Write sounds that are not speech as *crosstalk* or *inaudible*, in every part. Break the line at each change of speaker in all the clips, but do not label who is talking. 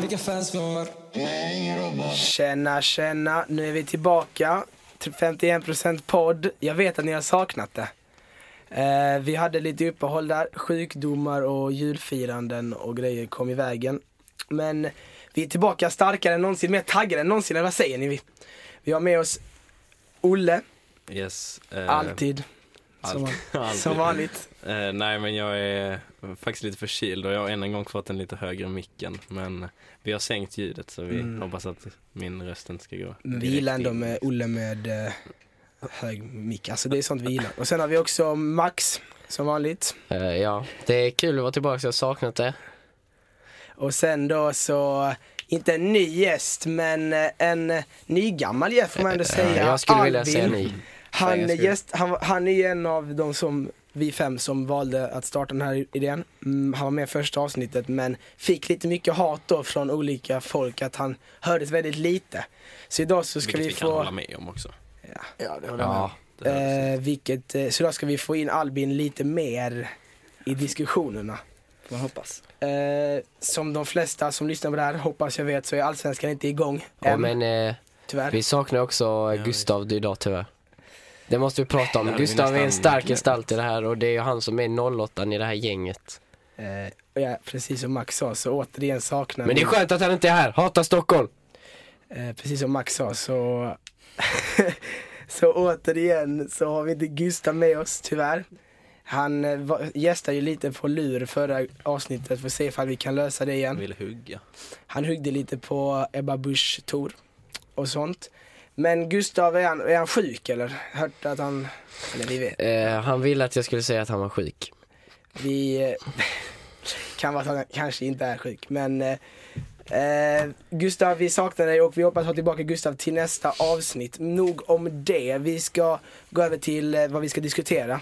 vilka fans vi har.
Tjena, tjena. Nu är vi tillbaka. 51% podd. Jag vet att ni har saknat det. Eh, vi hade lite uppehåll där. Sjukdomar och julfiranden och grejer kom i vägen. Men vi är tillbaka starkare än någonsin, mer taggade än någonsin. Eller vad säger ni? Vi, vi har med oss Olle,
Yes. eh,
alltid. Som,
allt- *laughs* alltid.
som vanligt.
Eh, nej, men jag är faktiskt lite förkyld och jag har än en gång fått en lite högre micken. Men vi har sänkt ljudet så vi hoppas att min röst inte ska gå
Men Mm. vi
direkt
gillar ändå
in.
med Olle med eh, hög mick. Alltså det är sånt vi gillar. Och sen har vi också Max, som vanligt.
Eh, ja, det är kul att vara tillbaka, jag har saknat det.
Och sen då så, inte en ny gäst men eh, en eh, nygammal gäst får man ändå säga.
Eh, jag skulle vilja
Albin.
säga ni.
Han,
Säga
är
skulle.
gäst, han, han är ju en av de som, vi fem som valde att starta den här idén. Mm, han var med i första avsnittet men fick lite mycket hat då från olika folk att han hördes väldigt lite. Så idag så ska
Vilket
vi,
vi, kan
få,
hålla med om också.
ja, det håller jag
Ja,
Det här-
Eh, vilket, eh, så idag ska vi få in Albin lite mer i diskussionerna.
Man hoppas.
Eh, som de flesta som lyssnar på det här hoppas jag vet så är allsvenskan inte igång
ja
än,
men eh,
tyvärr.
vi saknar också eh, Gustav idag tyvärr. Det måste vi prata
Det
om.
hade vi
Gustav är en
nästan
stark
glömt.
gestalt i det här och det är ju han som är 08 i det här gänget.
Eh, och ja, precis som Max sa så återigen saknar
Men det är skönt att han inte är här, hatar Stockholm!
eh, Precis som Max sa så *laughs* Så återigen så har vi inte Gustav med oss tyvärr. Han eh, var, gästade ju lite på lur förra avsnittet för att se ifall vi kan lösa det igen.
vill hugga.
Han huggde lite på Ebba Busch Thor och sånt. Men Gustav, är han, är han sjuk eller? Hört att han, eller vi vet.
Eh, han ville att jag skulle säga att han var sjuk.
Vi eh, *laughs* kan vara att han kanske inte är sjuk men eh, eh, Gustav vi saknar dig och vi hoppas ha tillbaka Gustav till nästa avsnitt. Nog om det. Vi ska gå över till eh, vad vi ska diskutera.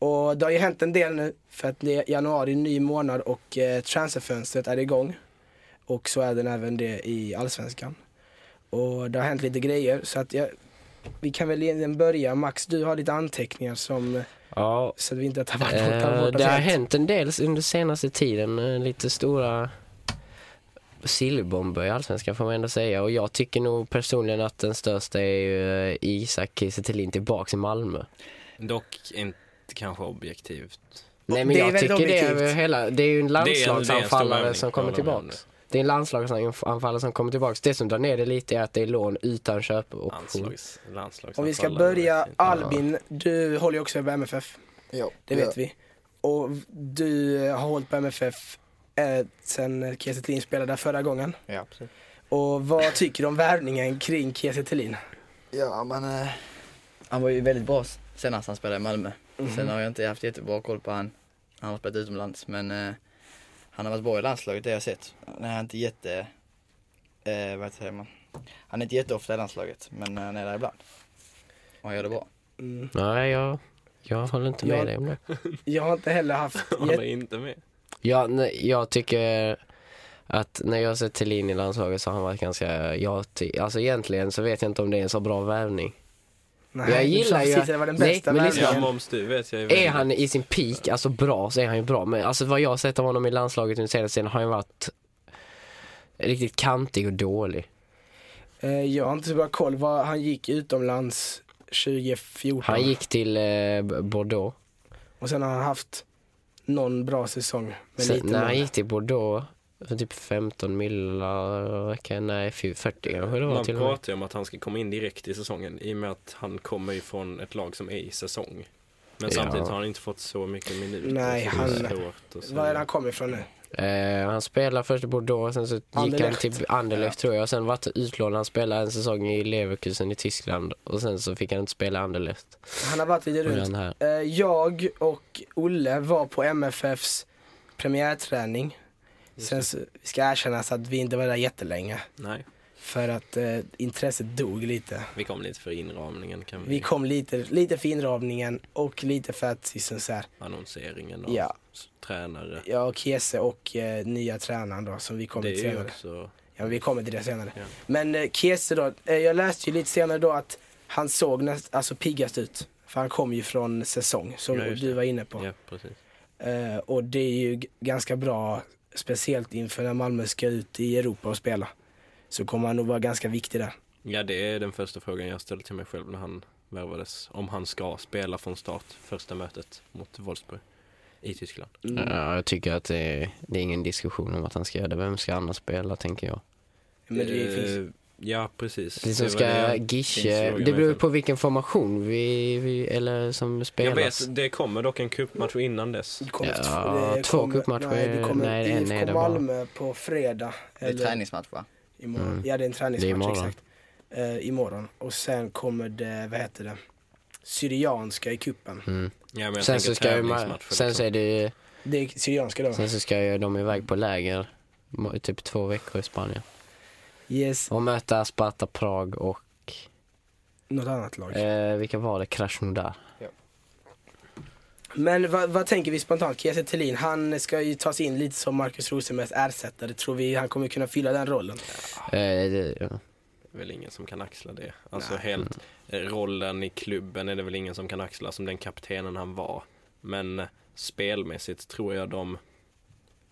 Och det har ju hänt en del nu för att det är januari, ny månad och eh, transferfönstret är igång. Och så är den även det i Allsvenskan. Och det har hänt lite grejer så att jag, vi kan väl egentligen börja. Max du har lite anteckningar som
Ja,
så att vi inte tappar bort, tappar
Eh,
bort oss
det har
helt.
hänt en del under senaste tiden, eh, lite stora sillbomber i Allsvenskan får man ändå säga. Och jag tycker nog personligen att den största är ju eh, Isak Kiese Thelin tillbaks i Malmö.
Dock inte kanske objektivt.
Nej men
det är
jag
väldigt
tycker det är,
objektivt.
ju hela, det är ju en
är- det är en stor
landslagsanfallare
värvning,
som kommer
jag håller med om
tillbaks. Det är en landslagsanfallare som kommer tillbaks. Det som drar ner det lite är att det är lån utan köpoption.
Landslags, landslags
Om vi ska börja,
Ja.
Albin, du håller ju också på MFF,
Ja,
det vet vi. Och du har hållit på MFF eh, sen Kiese Thelin spelade där förra gången.
Ja, absolut.
Och vad tycker du om värvningen kring Kiese Thelin?
Ja, men... Eh, han var ju väldigt bra s- senast han spelade i Malmö. Sen har jag inte haft jättebra koll på han. Han har spelat utomlands, men eh, han har varit bra i landslaget, det har jag sett. Han är inte jätte... Eh, vad säger man? Han är inte jätteofta i landslaget, men eh, han är där ibland. Och han gör det bra.
Nej jag, jag håller inte med
Jag-
dig om det.
Mm. Jag har inte heller haft...
Håller inte med.
Ja, nej, jag tycker att när jag har sett Thelin i landslaget så har han varit ganska, jag, ty- alltså egentligen så vet jag inte om det är en så bra värvning.
Nej,
jag gillar
du sa
ju-
precis att Det var den
Nej,
bästa
men lyssna.
Ja,
värvningen.
moms du vet jag
Är han i sin peak, alltså bra, så är han ju bra. Men alltså vad jag har sett av honom i landslaget under senaste tiden har han varit riktigt kantig och dålig.
Eh, Jag har inte så bra koll. Vad- Han gick utomlands 2014
Han gick till eh, Bordeaux.
och sen har han haft någon bra säsong. Med
Sen,
lite
när han
mål.
gick till Bordeaux för typ 15 millar, vecka, nej fy- 40 kanske det var
Man
till och med.
pratar ju om att han ska komma in direkt i säsongen i och med att han kommer ju från ett lag som är i säsong. Men
Ja.
samtidigt har han inte fått så mycket minuter.
Nej,
så det är
han-
svårt att
Var är
säga.
han kommer ifrån nu?
Eh, han spelade först i Bordeaux, sen så gick
Anderlecht.
han till Anderlecht tror jag. Och sen vart utlånad. Han spelade en säsong i Leverkusen i Tyskland. Och sen så fick han inte spela i Anderlecht.
Han har varit lite
Och
runt.
den här.
Eh, Jag och Olle var på MFFs premiärträning. Sen så, vi ska erkännas att vi inte var där jättelänge.
Nej,
För att eh, intresset dog lite.
vi kom lite för inramningen kan vi,
Vi kom lite, lite för inramningen och lite för att liksom så här,
annonseringen av
ja,
s- tränare.
jag och Kiese och eh, nya tränaren då som vi kommer
Det
till
är ju
senare.
också,
Ja, vi kommer till det senare.
Ja.
Men eh, Kiese då, eh, jag läste ju lite senare då att han såg näst, alltså piggast ut. För han kom ju från säsong som
Ja, just
du
det.
var inne på.
ja precis.
Eh, och det är ju g- ganska bra Speciellt inför när Malmö ska ut i Europa och spela. Så kommer han nog vara ganska viktig där.
Ja, det är den första frågan jag ställde till mig själv när han värvades. Om han ska spela från start första mötet mot Wolfsburg i Tyskland.
Mm.
Mm. Ja, jag tycker att det, det är ingen diskussion om att han ska göra det. Vem ska annars spela tänker jag?
Men det finns...
Eh, Ja, precis.
Liksom
Det var det
ska
jag-
Gische,
fråga
det
mig
beror
själv.
på vilken formation vi, vi eller som
Jag
spelas.
vet, det kommer dock en cupmatch innan dess.
Det kommer
Ja,
två- det
två
kommer-
cupmatcher,
Nej, det kommer
nej, det är en, nej, det
IFK
är bara-
Malmö på fredag.
Det är träningsmatch va?
Imorgon.
Mm.
Ja, det är en
Det är
träningsmatch.
imorgon.
exakt. Eh, imorgon. Och sen kommer det, vad heter det, Syrianska i kuppen.
Mm.
Ja, men jag
Sen
tänker
så ska ju ma-
tävlingsmatcher,
sen så
liksom.
är det ju,
Det är Syrianska då.
sen så ska ju de iväg på läger må- i typ två veckor i Spanien.
Yes.
Och möta Sparta Prag och,
Något annat lag.
eh, vilka var det? Krasnodar.
Men vad, vad tänker vi spontant? Kiese Thelin, han ska ju tas in lite som Marcus Rosenbergs ersättare. Tror vi han kommer kunna fylla den rollen?
Ah,
Eh, det- ja.
väl ingen som kan axla det. Alltså helt eh, rollen i klubben är det väl ingen som kan axla som den kaptenen han var. Men eh, spelmässigt tror jag de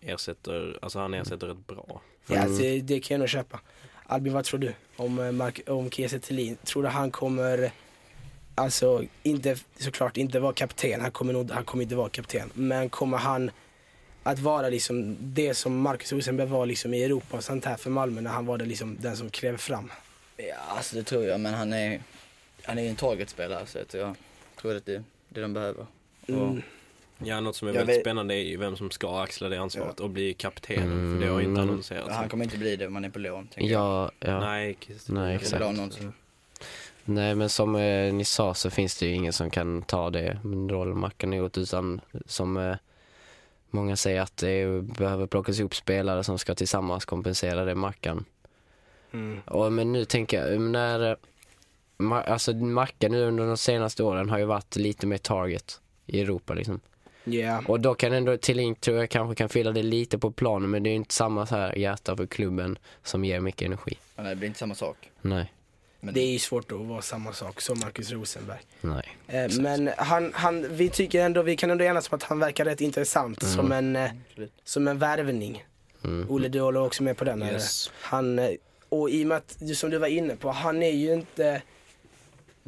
ersätter, alltså han ersätter ett bra.
Ja, alltså, det kan jag nog köpa. Albin, vad tror du om, eh, Mark, om Kiese Thelin? Tror du han kommer, alltså inte, såklart inte vara kapten, han kommer, nog, han kommer inte vara kapten, men kommer han att vara liksom det som Marcus Rosenberg var liksom i Europa och sånt här för Malmö när han var det liksom den som klev fram?
Ja, alltså det tror jag, men han är, han är ju en targetspelare så att jag tror att det är det de behöver.
Mm.
Ja, något som är
Jag
väldigt
vet-
spännande är ju vem som ska axla det ansvaret och bli kaptenen. För det har inte
Mm.
Och,
annonserats.
han kommer inte bli det om han är på lån. tänker jag.
Ja, ja. Nej.
Nej, Christer.
Nej,
Jag vill ha
exakt.
någon som-
men som eh, ni sa så finns det ju ingen som kan ta det men rollen Mackan har gjort utan som eh, många säger att det behöver plockas ihop spelare som ska tillsammans kompensera det Mackan.
Mm.
Och, men nu tänker jag, när, eh, ma- alltså Mackan nu under de senaste åren har ju varit lite mer target i Europa liksom.
Yeah.
Och då kan ändå Tillink tror jag kanske kan fylla det lite på planen men det är ju inte samma så här hjärta för klubben som ger mycket energi.
Ja, nej, det blir inte samma sak.
Nej,
Men
Det är ju svårt att vara samma sak som Marcus Rosenberg.
nej.
Eh, men han, han, vi tycker ändå, vi kan ändå enas om att han verkar rätt intressant som, en, eh,
absolut.
som en värvning.
Mm.
Olle, du håller också med på den? eller?
Yes.
Han, eh, och i och med att, som du var inne på, han är ju inte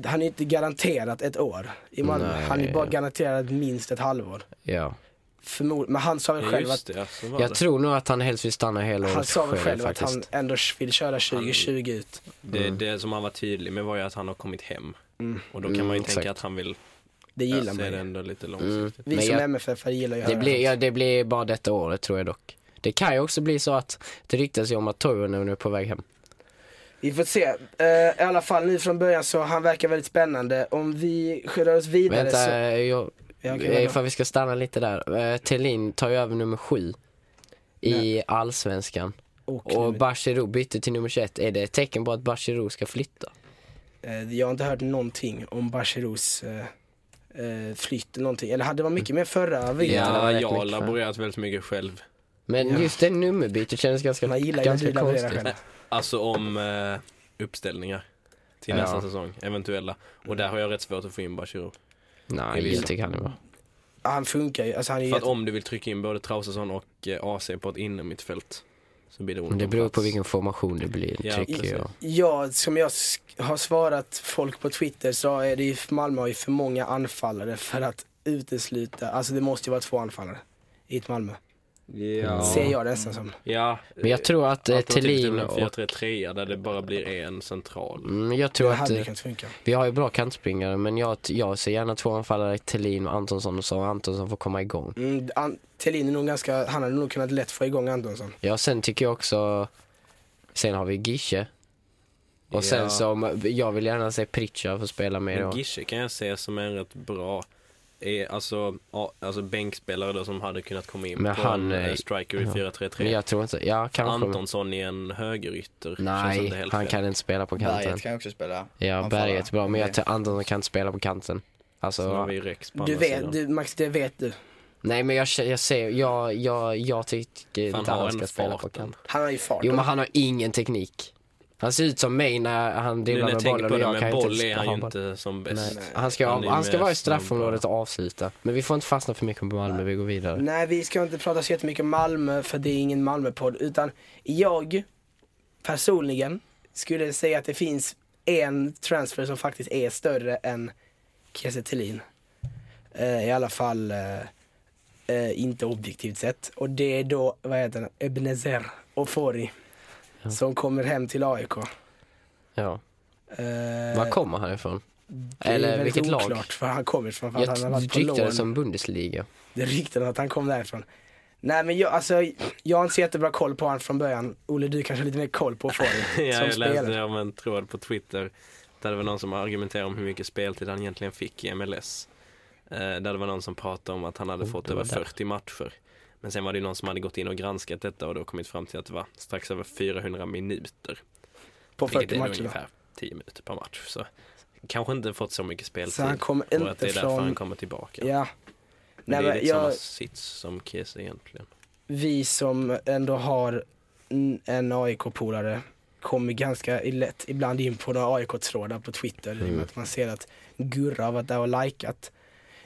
han är inte garanterat ett år i Malmö.
Nej.
Han är bara garanterad minst ett halvår.
Ja.
Förmod, men han sa väl
Ja,
själv
just
att,
det. Så var
Jag
det.
tror nog att han helst vill stanna hela året
han sa väl själv att
faktiskt.
han ändå vill köra 2020 ut.
det, det som han var tydlig med var ju att han har kommit hem. Och då kan
Mm,
man ju
exakt.
tänka att han vill
Det gillar
se
man
det
ju.
ändå lite
Mm.
långsiktigt.
Vi
Men
som
jag-
MFF gillar ju att
det,
höra
blir,
det.
ja, det blir bara detta året tror jag dock. Det kan ju också bli så att det ryktas ju om att Toivonen nu är på väg hem.
Vi får se. Eh, I alla fall nu från början så han verkar väldigt spännande. Om vi rör oss vidare
Vänta,
så...
eh, jag,
Ja, okej,
eh,
vadå?
ifall vi ska stanna lite där. Eh, Thelin tar ju över nummer sju i allsvenskan.
Och,
Och Bachirou bytte till nummer 21. Är det ett tecken på att Bachirou ska flytta?
eh, jag har inte hört någonting om Bashiros eh, eh, flytt eller någonting. Eller hade man mycket mer förra
Ja,
veckan?
det
Ja,
var rätt
jag har
mycket för-
laborerat väldigt mycket själv.
Men
Ja.
just det nummerbytet kändes ganska,
Man gillar ju att
ganska
du laborerar
konstigt.
själv.
Alltså om eh, uppställningar till
Ja.
nästa säsong, eventuella. Och där har jag rätt svårt att få in Bachirou. Jag
Nej,
gillar-
jag tycker han är bra.
Han funkar ju. Alltså han är ju
För att
jätte-
om du vill trycka in både Traustason och eh, AC på ett innermittfält så blir det ont
Men det
om
beror på
plats.
vilken formation det blir,
Ja,
tycker
precis.
jag.
Ja, som jag sk- har svarat folk på Twitter så är det ju, Malmö har ju för många anfallare för att utesluta, alltså det måste ju vara två anfallare i ett Malmö.
Ja.
Ser jag det nästan som.
ja.
Mm.
typ
Men jag tror att eh,
Alternativet är väl
Thelin
en
och...
4-3-3 där det bara blir en central.
Mm, jag tror
Det
att...
hade
eh,
ju kunnat funka.
Vi har ju bra kantspringare men jag, jag ser gärna två anfallare, Thelin och Antonsson och så Antonsson får komma igång.
Mm, An- Thelin är nog ganska, han hade nog kunnat lätt få igång Antonsson.
Ja sen tycker jag också, sen har vi Gische. Och
Ja.
sen så, jag vill gärna se Pritcha få spela med
Men
då.
Gische kan jag se som en rätt bra eh, Alltså, ja, alltså bänkspelare då som hade kunnat komma in
Men
på
han,
en eh,
eh,
striker i
ja. Men
4-3-3.
jag tror inte, ja kanske.
Antonsson i en högerytter känns inte
Nej,
helt
han
fel.
kan inte spela på kanten.
Berget kan ju också spela.
Ja,
anfallare.
Berget är bra men jag
Det-
tror Antonsson kan inte spela på kanten.
Sen har
Alltså,
vi ju Rex på
Du
andra
vet,
sidan.
du, Max det vet du.
nej men jag, kä- jag ser, jag, jag, jag tycker
Fan,
inte
har
han
en
ska spela på
farten.
kanten.
Han har ju fart.
Jo men han har ingen teknik. Han ser ut som mig när han
Nu när
dribblar
jag
med
tänker
bollen
på
och
det
jag
med
kan inte
boll
ens
är han
ha
ju
boll.
inte som bäst.
Nej. Han ska,
Han är
han ska
mest
vara i straffområdet
snabb.
och avsluta. Men vi får inte fastna för mycket på Malmö, vi går vidare.
Nej, vi ska inte prata så jättemycket Malmö för det är ingen Malmöpodd. Utan jag personligen skulle säga att det finns en transfer som faktiskt är större än Kiese Thelin. Eh, I alla fall eh, eh, inte objektivt sett. Och det är då, vad heter han, Ebenezer Ofori.
Ja.
Som kommer hem till AIK. Eh,
Ja. Var kommer han ifrån?
det är
eller
väldigt
vilket lag?
oklart var han kommer ifrån. för att han har
Jag
varit på lån.
ryktades som Bundesliga.
Det ryktades att han kom därifrån. Nej men jag, alltså, jag har inte så jättebra koll på honom från början. Olle du kanske har lite mer koll
*laughs*
på Fori
Ja,
som
jag
spelare.
läste om en tråd på Twitter där det var någon som argumenterade om hur mycket speltid han egentligen fick i MLS. Eh, där det var någon som pratade om att han hade
Oh,
fått
det var
över
där.
40 matcher. Men sen var det ju någon som hade gått in och granskat detta och då kommit fram till att det var strax över 400 minuter.
På
vilket
40
är nog
matcher.
ungefär 10 minuter per match. Så kanske inte fått så mycket
då. Så han
speltid.
kommer
och att det
inte
är därför han
från...
kommer tillbaka.
Ja.
men
Nej,
det är
men
lite samma
jag,
sits som Kiese egentligen.
vi som ändå har n- en AIK-polare kommer ganska lätt ibland in på några AIK-trådar på Twitter. i och
Mm.
med Att man ser att Gurra har varit där och likat.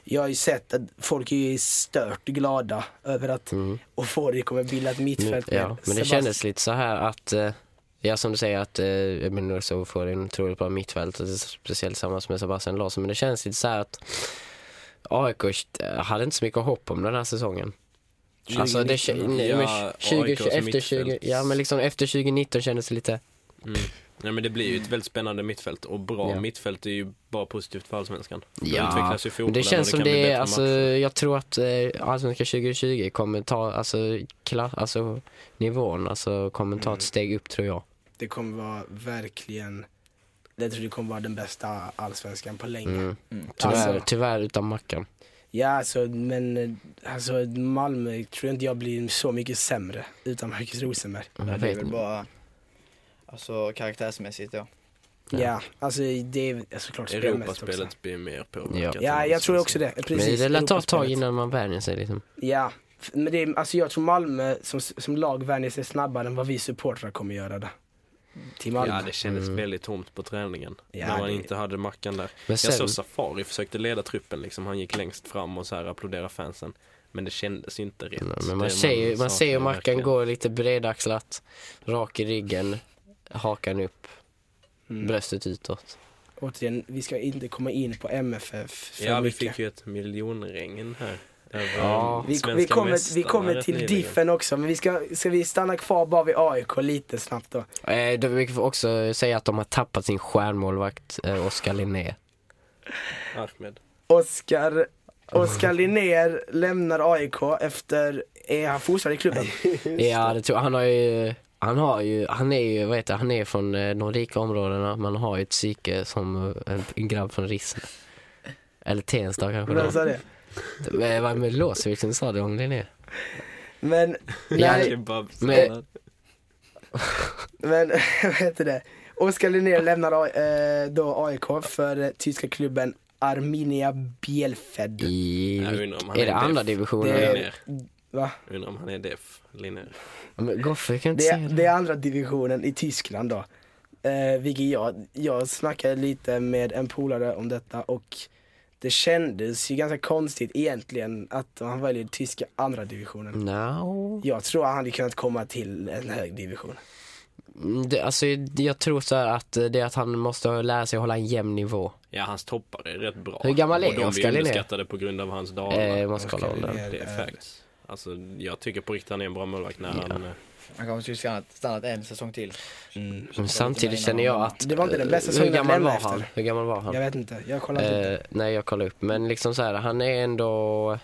Jag har ju sett att folk är ju stört glada över att
Mm.
Ofori kommer bilda ett
Nu,
mittfält med
ja. Men det
Sebast-
kändes lite så här att, eh, ja som du säger att eh, Ebenezer Sow får en otroligt bra mittfält, och det är speciellt tillsammans med Sebastian Larsson. Men det känns lite så här att AIK hade inte så mycket hopp om den här säsongen. Alltså det,
2019.
nej,
Ja,
men 20,
AIK som
efter 20,
mittfält.
ja men liksom efter 2019 kändes det lite,
Mm. Nej, men det blir ju ett väldigt spännande mittfält och bra
Ja.
mittfält är ju bara positivt för allsvenskan. Då
Ja,
utvecklas ju fotbollen
det känns
och
som
kan bli
det är,
bättre
alltså
matcher.
jag tror att eh, Allsvenskan 2020 kommer ta, alltså, kla, alltså nivån, alltså kommer
Mm.
ta ett steg upp tror jag.
Det kommer vara verkligen, jag tror det kommer vara den bästa allsvenskan på länge.
Mm.
Mm.
Tyvärr,
Alltså.
tyvärr utan Mackan.
Ja alltså, men eh, alltså Malmö tror inte jag blir så mycket sämre utan Marcus Rosenberg.
Jag
det är
vet
väl
inte.
bara Alltså karaktärsmässigt ja.
Ja,
Ja.
alltså det är alltså, såklart spelmässigt också.
Europaspelet blir mer påverkat.
Ja.
än
Ja, jag tror också det. Precis,
men det lär ta ett tag
Europaspelet.
innan man vänjer sig liksom.
Ja, f- men det är, alltså jag tror Malmö som, som lag vänjer sig snabbare än vad vi supportrar kommer göra det. Till Malmö.
Ja, det kändes
Mm.
väldigt tomt på träningen.
Ja,
när man
det-
inte hade Mackan där.
Men
Jag
sen,
såg Safari försökte leda truppen liksom. Han gick längst fram och så här applådera fansen. Men det kändes ju inte rätt.
men man
Det
ser ju man
saknar
ser ju Mackan
verkligen.
går lite bredaxlat, rak i ryggen, hakan upp,
Mm.
bröstet utåt.
Återigen, vi ska inte komma in på MFF för
Ja, vi
mycket.
fick ju ett miljonregn här. över
Ja.
Vi,
svenska
vi, kommer, vi
mästarna
kommer
rätt
till
nyligen.
diffen också, men vi ska, ska vi stanna kvar bara vid AIK lite snabbt då?
Eh, då vi får också säga att de har tappat sin stjärnmålvakt eh, Oskar Linné.
Ahmed.
Oskar, Oskar Linnér lämnar AIK efter, är han fortfarande i klubben?
Ja, det tror jag. Han har ju, han har ju, han är ju, vad heter det, han är från eh, de rika områdena men har ju ett psyke som eh, en, en grabb från Rissne. Eller Tensta kanske
Vem
då.
sa det?
Eh, Vad med Låsvik som sa det om Linné?
Men,
Ja,
nej,
Kebabsallad.
men *laughs* vad heter det? Oskar Linnér lämnar eh, då AIK för eh, tyska klubben Arminia Bielefeld.
I,
Jag undrar om han
är det andra
deff.
divisionen?
Det-
Linnér.
Va?
Jag Undrar om han är deff, Linnér.
Men Goffe kan inte
Det,
säga
är- det är andra divisionen i Tyskland då. Eh, vilket jag, jag snackade lite med en polare om detta och det kändes ju ganska konstigt egentligen att han väljer tyska andra
Mm.
divisionen.
No.
Jag tror han hade kunnat komma till en hög division.
Det, alltså, jag tror så här att eh, det är att han måste lära sig hålla en jämn nivå.
Ja, hans toppar är rätt bra.
Hur gammal är
Och de
Oskar
blir
Linnér?
underskattade på grund av hans dagar.
Eh, jag måste
Oskar
kolla åldern.
Linnér.
det är facts. Alltså, jag tycker på riktigt han är en bra målvakt när
Ja.
han... eh,
Han kanske skulle stannat, stannat en säsong till.
Mm. Men samtidigt känner jag att...
Det var inte den bästa
eh,
säsongen
Hur
att
gammal
lämna
var
efter.
han? Hur gammal var han?
Jag vet inte, jag kollar inte.
Eh, nej, jag kollar upp. Men liksom så här, han är ändå...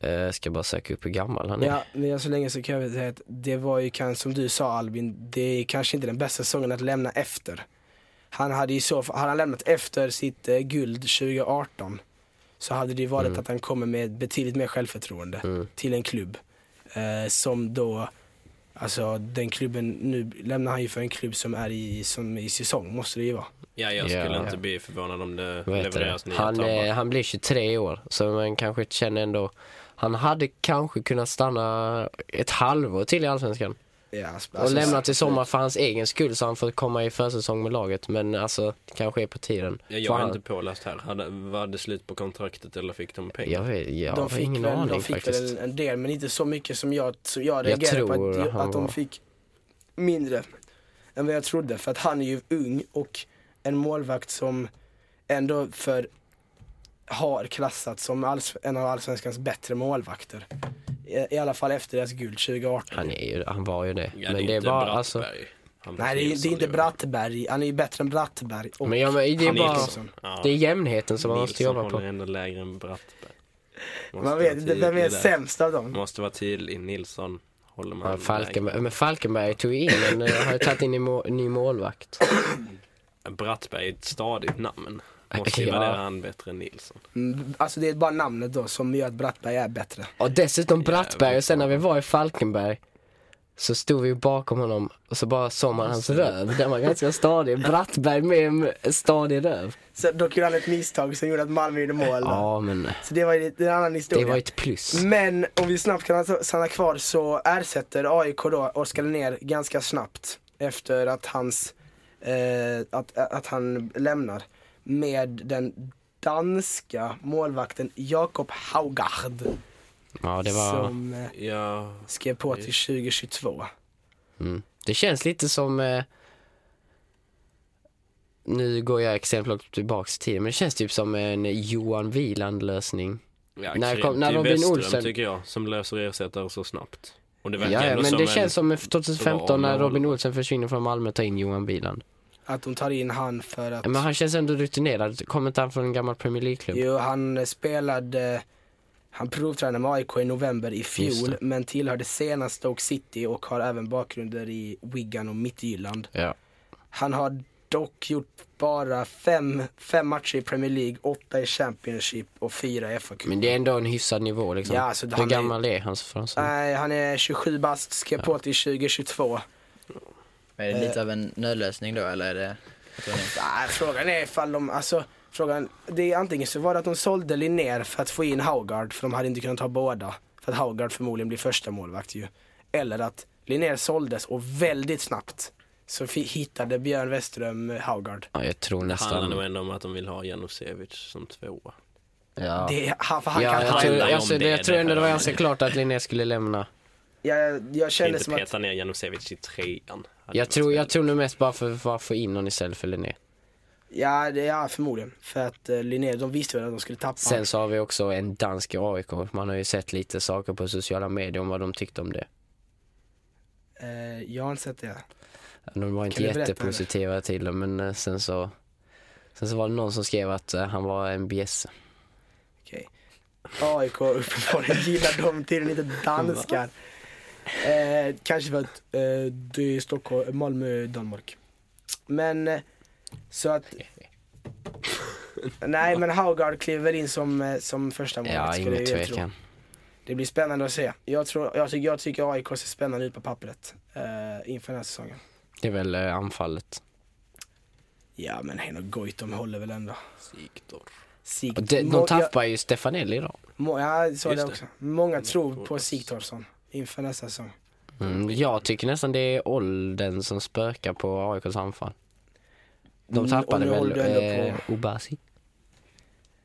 Eh, ska bara söka upp hur gammal han är.
Ja, men jag så länge så kan jag väl säga att det var ju kanske, som du sa Albin, det är kanske inte den bästa säsongen att lämna efter. Han hade ju så, hade han lämnat efter sitt eh, guld 2018 så hade det ju varit
Mm.
att han kommer med betydligt mer självförtroende
Mm.
till en klubb. Eh, som då, alltså den klubben, nu lämnar han ju för en klubb som är i, som är i säsong, måste det ju vara.
Ja, jag skulle
Ja.
inte bli förvånad om det
Vad heter
levereras
det?
nya
Han,
tabbar.
eh, han blir 23 år, så man kanske känner ändå... Han hade kanske kunnat stanna ett halvår till i Allsvenskan.
Ja,
Och lämnat i sommar för hans egen skull så han får komma i försäsong med laget. Men alltså, det kanske är på tiden.
Ja,
För
jag är
han-
inte påläst här. Hade, var det slut på kontraktet eller fick de pengar?
Jag, vet, jag
de
har
fick,
ingen
väl,
aning
de fick
faktiskt.
väl en del men inte så mycket som jag, så jag reagerade på
tror
att,
han
att de
var-
fick mindre än vad jag trodde. För att han är ju ung och en målvakt som ändå för har klassats som alls, en av allsvenskans bättre målvakter. I, I alla fall efter deras guld 2018.
Han, är ju, han var ju det.
Ja,
men
är
det är
inte
bara,
Brattberg.
alltså,
Han
Nej det är, det är inte
Nilsson,
Brattberg, han är ju bättre än Brattberg. Och
men, ja, men det är
Han är
bara,
Nilsson. Ja.
det är jämnheten som man måste
Nilsson
jobba
håller
på.
liksom, ändå lägre än Brattberg.
man
Måste vara
vet inte, vem
tydlig
är
där.
sämst av dem?
Måste vara tydlig, Nilsson håller man
Ja,
lägre.
Falkenberg, men Falkenberg tog ju in en, eh, har ju tagit in en må, ny målvakt.
Brattberg är ett stadigt namn. Måste ju
Ja.
värdera han bättre än Nilsson.
Mm, Alltså det är bara namnet då som gör att Brattberg är bättre.
Och dessutom Brattberg, och sen när vi var i Falkenberg så stod vi ju bakom honom och så bara såg man hans röv. Den var ganska stadig. Brattberg med en stadig röv.
Så dock gjorde han ett misstag som gjorde att Malmö gjorde mål. då.
Ja men
Så det var ju en annan
det
historia.
var ju ett plus.
Men om vi snabbt kan alltså stanna kvar så ersätter AIK då Oskar ner ganska snabbt efter att, hans, eh, att, att han lämnar med den danska målvakten Jakob Haugard
Ja det var,
som eh,
Ja,
skrev på till 2022.
mm. det känns lite som eh, nu går jag exempel tillbaks till men det känns typ som en Johan Wieland lösning.
ja
När
när
kom- när Robin
Westrum
Olsen-
tycker jag, som löser ersättare så snabbt. Och det
Ja,
verkar
ja
ändå
men
som
det
en...
känns som 2015 när
bra
Robin
mål.
Olsen försvinner från Malmö och tar in Johan Wieland.
Att de tar in han för att...
Ja, Men han känns ändå rutinerad. Kommer inte han från en gammal Premier League-klubb?
Jo, han spelade, han provtränade med AIK i november i
Just
fjol
det.
men tillhörde senast Stoke City och har även bakgrunder i Wigan och Midtjylland.
Ja.
Han har dock gjort bara fem, fem matcher i Premier League, åtta i Championship och fyra i fa
Men det är ändå en hyfsad nivå liksom.
Ja, alltså,
Hur
han är- Äh.
gammal är han? Fransson?
Nej, han är 27 bast, skrev på till 2022.
Men är det
Eh,
lite av en nödlösning då eller är det? jag tror inte.
Nej, frågan är ifall de, alltså, frågan, det är antingen så var det att de sålde Linnér för att få in Haugard, för de hade inte kunnat ha båda. För att Haugard förmodligen blir första målvakt ju. Eller att Linnér såldes och väldigt snabbt så fi- hittade Björn Westström eh, Haugard.
Ja, jag tror
Det handlar
nästan...
nog ändå om att de vill ha Janusevic som tvåa.
Ja.
Det, han, för han
Ja,
kan
jag,
handla
tror,
ju om
alltså, det,
det,
jag tror
det
ändå det var
här.
ganska klart att Linné skulle lämna.
jag, jag kände
Inte
som att
peta ner Janusevic i trean. Hade
Jag
varit
tror, jag
väldigt-
tror nog mest bara för, för att få in någon istället för Linné.
Ja, det, ja förmodligen. För att eh, Linné, de visste väl att de skulle tappa
Sen så har vi också en dansk i AIK. Man har ju sett lite saker på sociala medier om vad de tyckte om det.
eh, Jag har inte sett det.
De var inte
du berätta,
jättepositiva till det, men eh, sen så... Sen så var det någon som skrev att eh, han var en bjässe.
Okej. AIK uppenbarligen gillar de till inte danskar. Eh, kanske för att eh, det är Stockholm, Malmö, Danmark. Men eh, så att... Nej men Haugard kliver in som, eh, som första målet
Ja,
skulle
ingen
jag tro.
tvekan.
Det blir spännande att se. Jag, tror, jag, tycker, jag tycker AIK ser spännande ut på pappret eh, inför den här säsongen.
Det är väl eh, anfallet.
Ja men Heino Goitom håller väl ändå.
Sigtor.
Sig-
Och de,
Må-
de tappar ju Stefanelli idag.
Må, ja, så är
Just
det
det.
också. Många tror
tror
på
det.
Sigthorsson inför nästa säsong.
Mm, jag tycker nästan det är åldern som spökar på AIKs anfall. De
Mm,
tappade
och nu håller
väl
du ändå
eh, Obasi.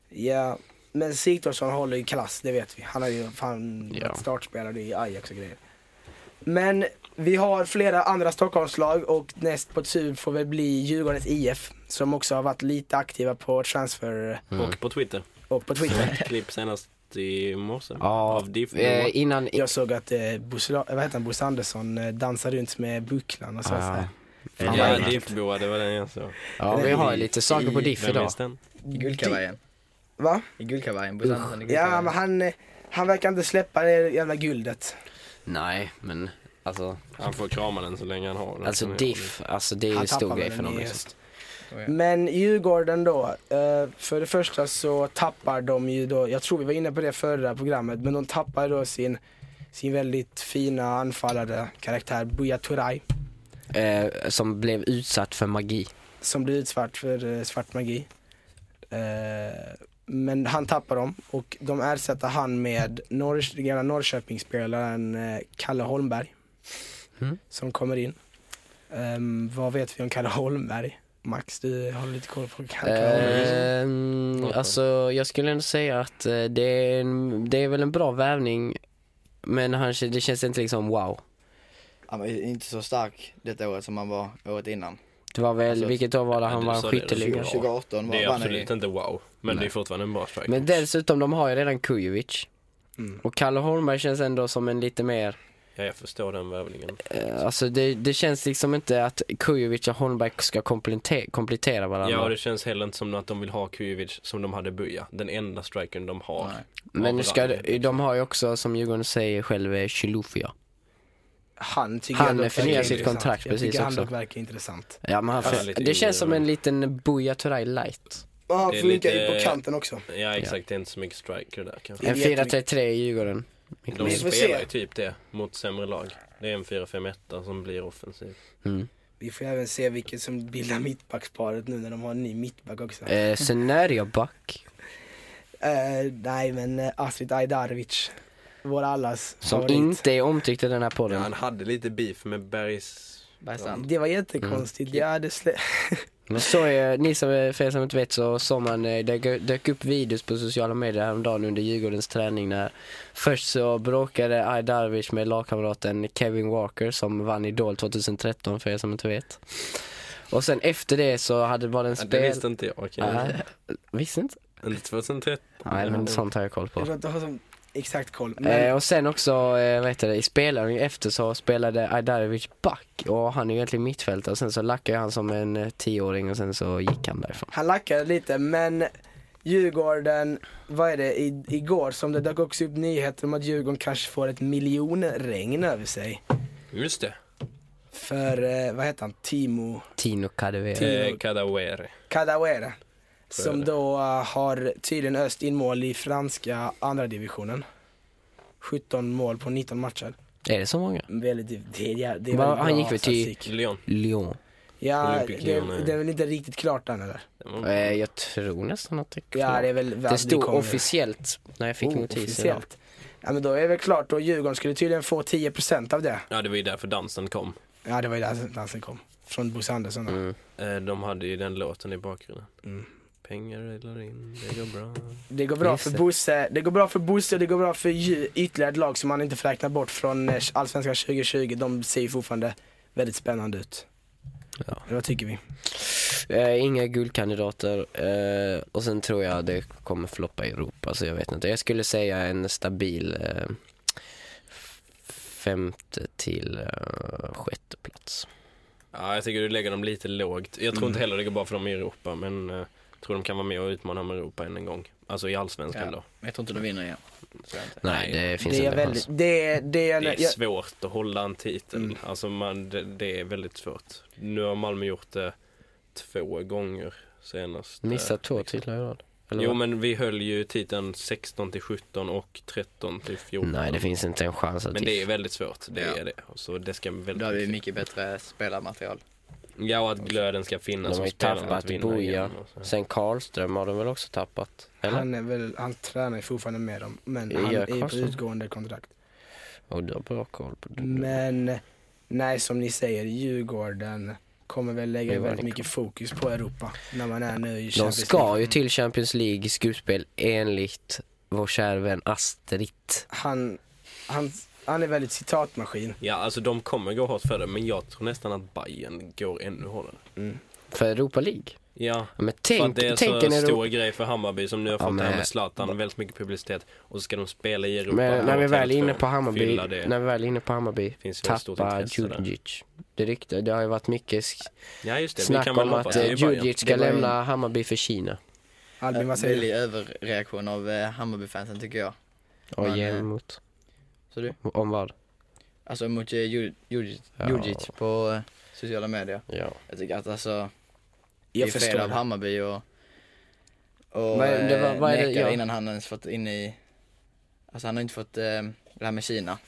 Ja, men Sigthorsson håller ju klass, det vet vi. Han har ju fan
Ja.
varit startspelare i Ajax och grejer. Men vi har flera andra Stockholmslag och näst på tur får väl bli Djurgårdens IF som också har varit lite aktiva på transfer
Mm.
Och på Twitter.
och på
*laughs*
Twitter.
Ett klipp senast i morse.
Ja,
Av Diff.
Eh, innan...
Jag såg att eh, Bosse, La- vad heter han, Bosse Andersson eh, dansar runt med bucklan och så.
Ja.
så
Ja,
Fan,
ja,
vad äckligt.
Diffboa, det var den jag såg.
ja, vi har ju lite saker på diff
Vem
idag.
minns den?
I guldkavajen.
Va?
I guldkavajen. Bosse Andersson i
Ja,
guldkavajen.
men han, eh, han verkar inte släppa det jävla guldet.
Nej, men alltså,
Han får krama den så länge han har den.
alltså
Han är-
diff, alltså det är ju
Han tappar
stor
väl
grej
den
för
i
någon
höst.
liksom.
Oh, ja.
Men Djurgården då, eh, för det första så tappar de ju då, jag tror vi var inne på det förra programmet, men de tappar då sin, sin väldigt fina anfallare karaktär Buya Turay
Eh, som blev utsatt för magi.
som blir utsvart för eh, svart magi. Eh, men han tappar dem och de ersätter han med Norr, den gamla Norrköpingsspelaren eh, Kalle Holmberg.
Mm.
som kommer in. Ehm, vad vet vi om Kalle Holmberg? Max, du har lite koll på Kalle
Eh,
Holmberg.
Ehm, alltså jag skulle ändå säga att eh, det är, en, det är väl en bra värvning men han, det känns inte liksom wow.
Han var ju inte så stark detta året som han var året innan.
Det var väl,
Alltså,
vilket år var det
ja,
han
du
vann
sa det, det är
skytteligan?
så.
2018 var
Det är
vann han
absolut
ju.
inte wow, men det är fortfarande en bra strike.
Men dessutom, de har ju redan Kujovic.
Mm.
Och Kalle Holmberg känns ändå som en lite mer,
Ja, jag förstår den värvningen.
eh, alltså det, det känns liksom inte att Kujovic och Holmberg ska komplettera, komplettera varandra.
Ja, det känns heller inte som att de vill ha Kujovic som de hade Buya. Den enda strikern de har.
Nej.
men nu ska,
Varandra.
de har ju också, som Djurgården säger själv, eh, Chilufya.
Han tycker
Han
jag dock
förnyar
verkar
sitt
intressant.
kontrakt
jag
precis
tycker
också.
han dock verkar intressant.
Ja, men han,
Han är Alltså, lite
det känns
yngre,
som
men-
en liten Buya Turay light.
Och han
Det är
funkar
lite-
ju på kanten också.
Ja, exakt. Det är inte så mycket striker där kanske.
Det är
En 4-3-3 i Djurgården.
De
vi får
spelar
se.
ju typ det mot sämre lag. Det är en 4-5-1 som blir offensiv.
Mm.
Vi får även se vilket som bildar mittbacksparet nu när de har en ny mittback också.
Eh, sen är jag back.
Eh, nej men eh, Astrid Ajdarevic, vår allas
Som
favorit.
inte är omtyckt i den här
Ja,
podden.
han hade lite beef med Bergs...
Bergstrand.
Det var
Mm.
jättekonstigt. Jag hade slä...
Men så är, ni som, är- för er som inte vet så såg man, eh, det gö- dök upp videos på sociala medier häromdagen under Djurgårdens träning när först så bråkade Ajdarevic med lagkamraten Kevin Walker som vann Idol 2013 för er som inte vet. Och sen efter det så hade, var det en
Ja, det
spel...
visste inte jag. okej.
Nej, visste inte?
Inte 2013.
Nej men sånt har jag koll på.
Jag tror inte jag har som exakt koll. Men
Eh, och sen också, eh, vad heter det, i spelaren efter så spelade Ajdarevic back och han är ju egentligen mittfältare och sen så lackade han som en eh, tioåring och sen så gick han därifrån.
han lackade lite men Djurgården, vad är det, i, igår som det dök också upp nyheter om att Djurgården kanske får ett miljonregn över sig.
Just det.
För, eh, vad heter han, Timo
Tino Kadewere.
Eh, Kadawere.
Kadawere. Som
det.
då eh, har tydligen öst in mål i franska andra divisionen. 17 mål på 19 matcher.
Är det så många?
Väldigt, det är, det är väldigt
Va,
bra
han gick väl till-
statistik.
Lyon.
Lyon.
Ja,
Olympic
det,
Lyon, eh. ja.
det är väl inte riktigt klart än eller?
Den var-
Eh, jag tror nästan att det är klart.
Ja, det är väl
det, stod officiellt när jag fick
Oh,
notisen.
officiellt. Ja men då är det väl klart då Djurgården skulle tydligen få 10% av det.
Ja, det var ju därför dansen kom.
Ja det var ju där dansen kom. Från Bosse Andersson då.
Mm.
Eh, De hade ju den låten i bakgrunden.
Mm.
Pengar rullar in, det går bra.
Det går bra
Just
för
det.
Bosse, det går bra för Bosse och det går bra för Dju- ytterligare ett lag som man inte får räkna bort från eh, Allsvenskan 2020. De ser ju fortfarande väldigt spännande ut.
Ja.
Vad tycker vi?
Eh, inga guldkandidater eh, och sen tror jag det kommer floppa i Europa så jag vet inte. Jag skulle säga en stabil eh, f- femte till eh, sjätte plats.
Ja, jag tycker du lägger dem lite lågt. Jag tror inte
Mm.
heller det går bra för dem i Europa, men eh, jag tror de kan vara med och utmana om Europa än en gång. Alltså i allsvenskan
Ja.
då.
Jag tror inte de vinner igen. Så jag inte.
Nej, det
det
finns inte
är
en
väldigt,
chans.
det är, det är,
Det är
jag,
svårt att hålla en titel.
Mm.
Alltså man, det, det är väldigt svårt. Nu har Malmö gjort det två gånger senast. eh, liksom.
Missat två titlar i rad. Eller
Jo
vad?
men vi höll ju titeln 16 till 17 och 13 till 14.
Nej, det finns inte en chans att
Men det är väldigt svårt, det
Ja.
är det. Så det ska
Då har vi
väldigt
mycket bättre spelarmaterial.
Ja och att glöden ska finnas
De har
hos
ju
spelarna
tappat
att vinna
Bojan.
igen och så.
Sen Karlström har de väl också tappat? Eller?
han, är väl, han tränar ju fortfarande med dem men
Ja,
han är ju på
Karlsson. Mm.
utgående kontrakt.
Och du har bra koll på det.
Men nej, som ni säger, Djurgården kommer väl lägga
Djurgården
väldigt mycket fokus på Europa när man är nu i
De
Champions League.
ska ju till Champions League i gruppspel enligt vår kära vän Astrid.
Han, han, han är väldigt citatmaskin.
Ja alltså de kommer gå hårt för det men jag tror nästan att Bayern går ännu hårdare.
För Europa League.
Ja.
Men
för att
tänk,
det är
tänk en
så stor
Europa...
grej för Hammarby som nu har
Ja,
fått det här
men-
med Zlatan, väldigt mycket publicitet och så ska de spela i Europa.
Men när
på
vi väl är
Tele2,
inne på Hammarby,
fylla det.
när vi väl är inne på Hammarby,
Finns väl ett stort
tappa
intresse där.
Djurdjic. Det, rykte, det har ju varit mycket sk-
Ja just det, vi
snack
kan väl
om
hoppas
att
det
eh,
är Bayern.
Djurdjic ska
Det var ju-
lämna Hammarby för Kina.
Albin, vad säger du?
Väldig Äh, överreaktion av eh, Hammarbyfansen tycker jag.
Och
Men,
ge
eh,
emot.
Så du?
Om vad?
Alltså mot eh, Ju- Ju-
Ja.
Djurdjic på eh, sociala medier.
Ja.
Jag tycker att alltså, det är
Jag
fel
förstår.
av
det.
Hammarby och, och
Vad är- det var-
eh,
vad är det-
neka
ja.
innan han ens fått in i, alltså han har inte fått eh, det här med Kina.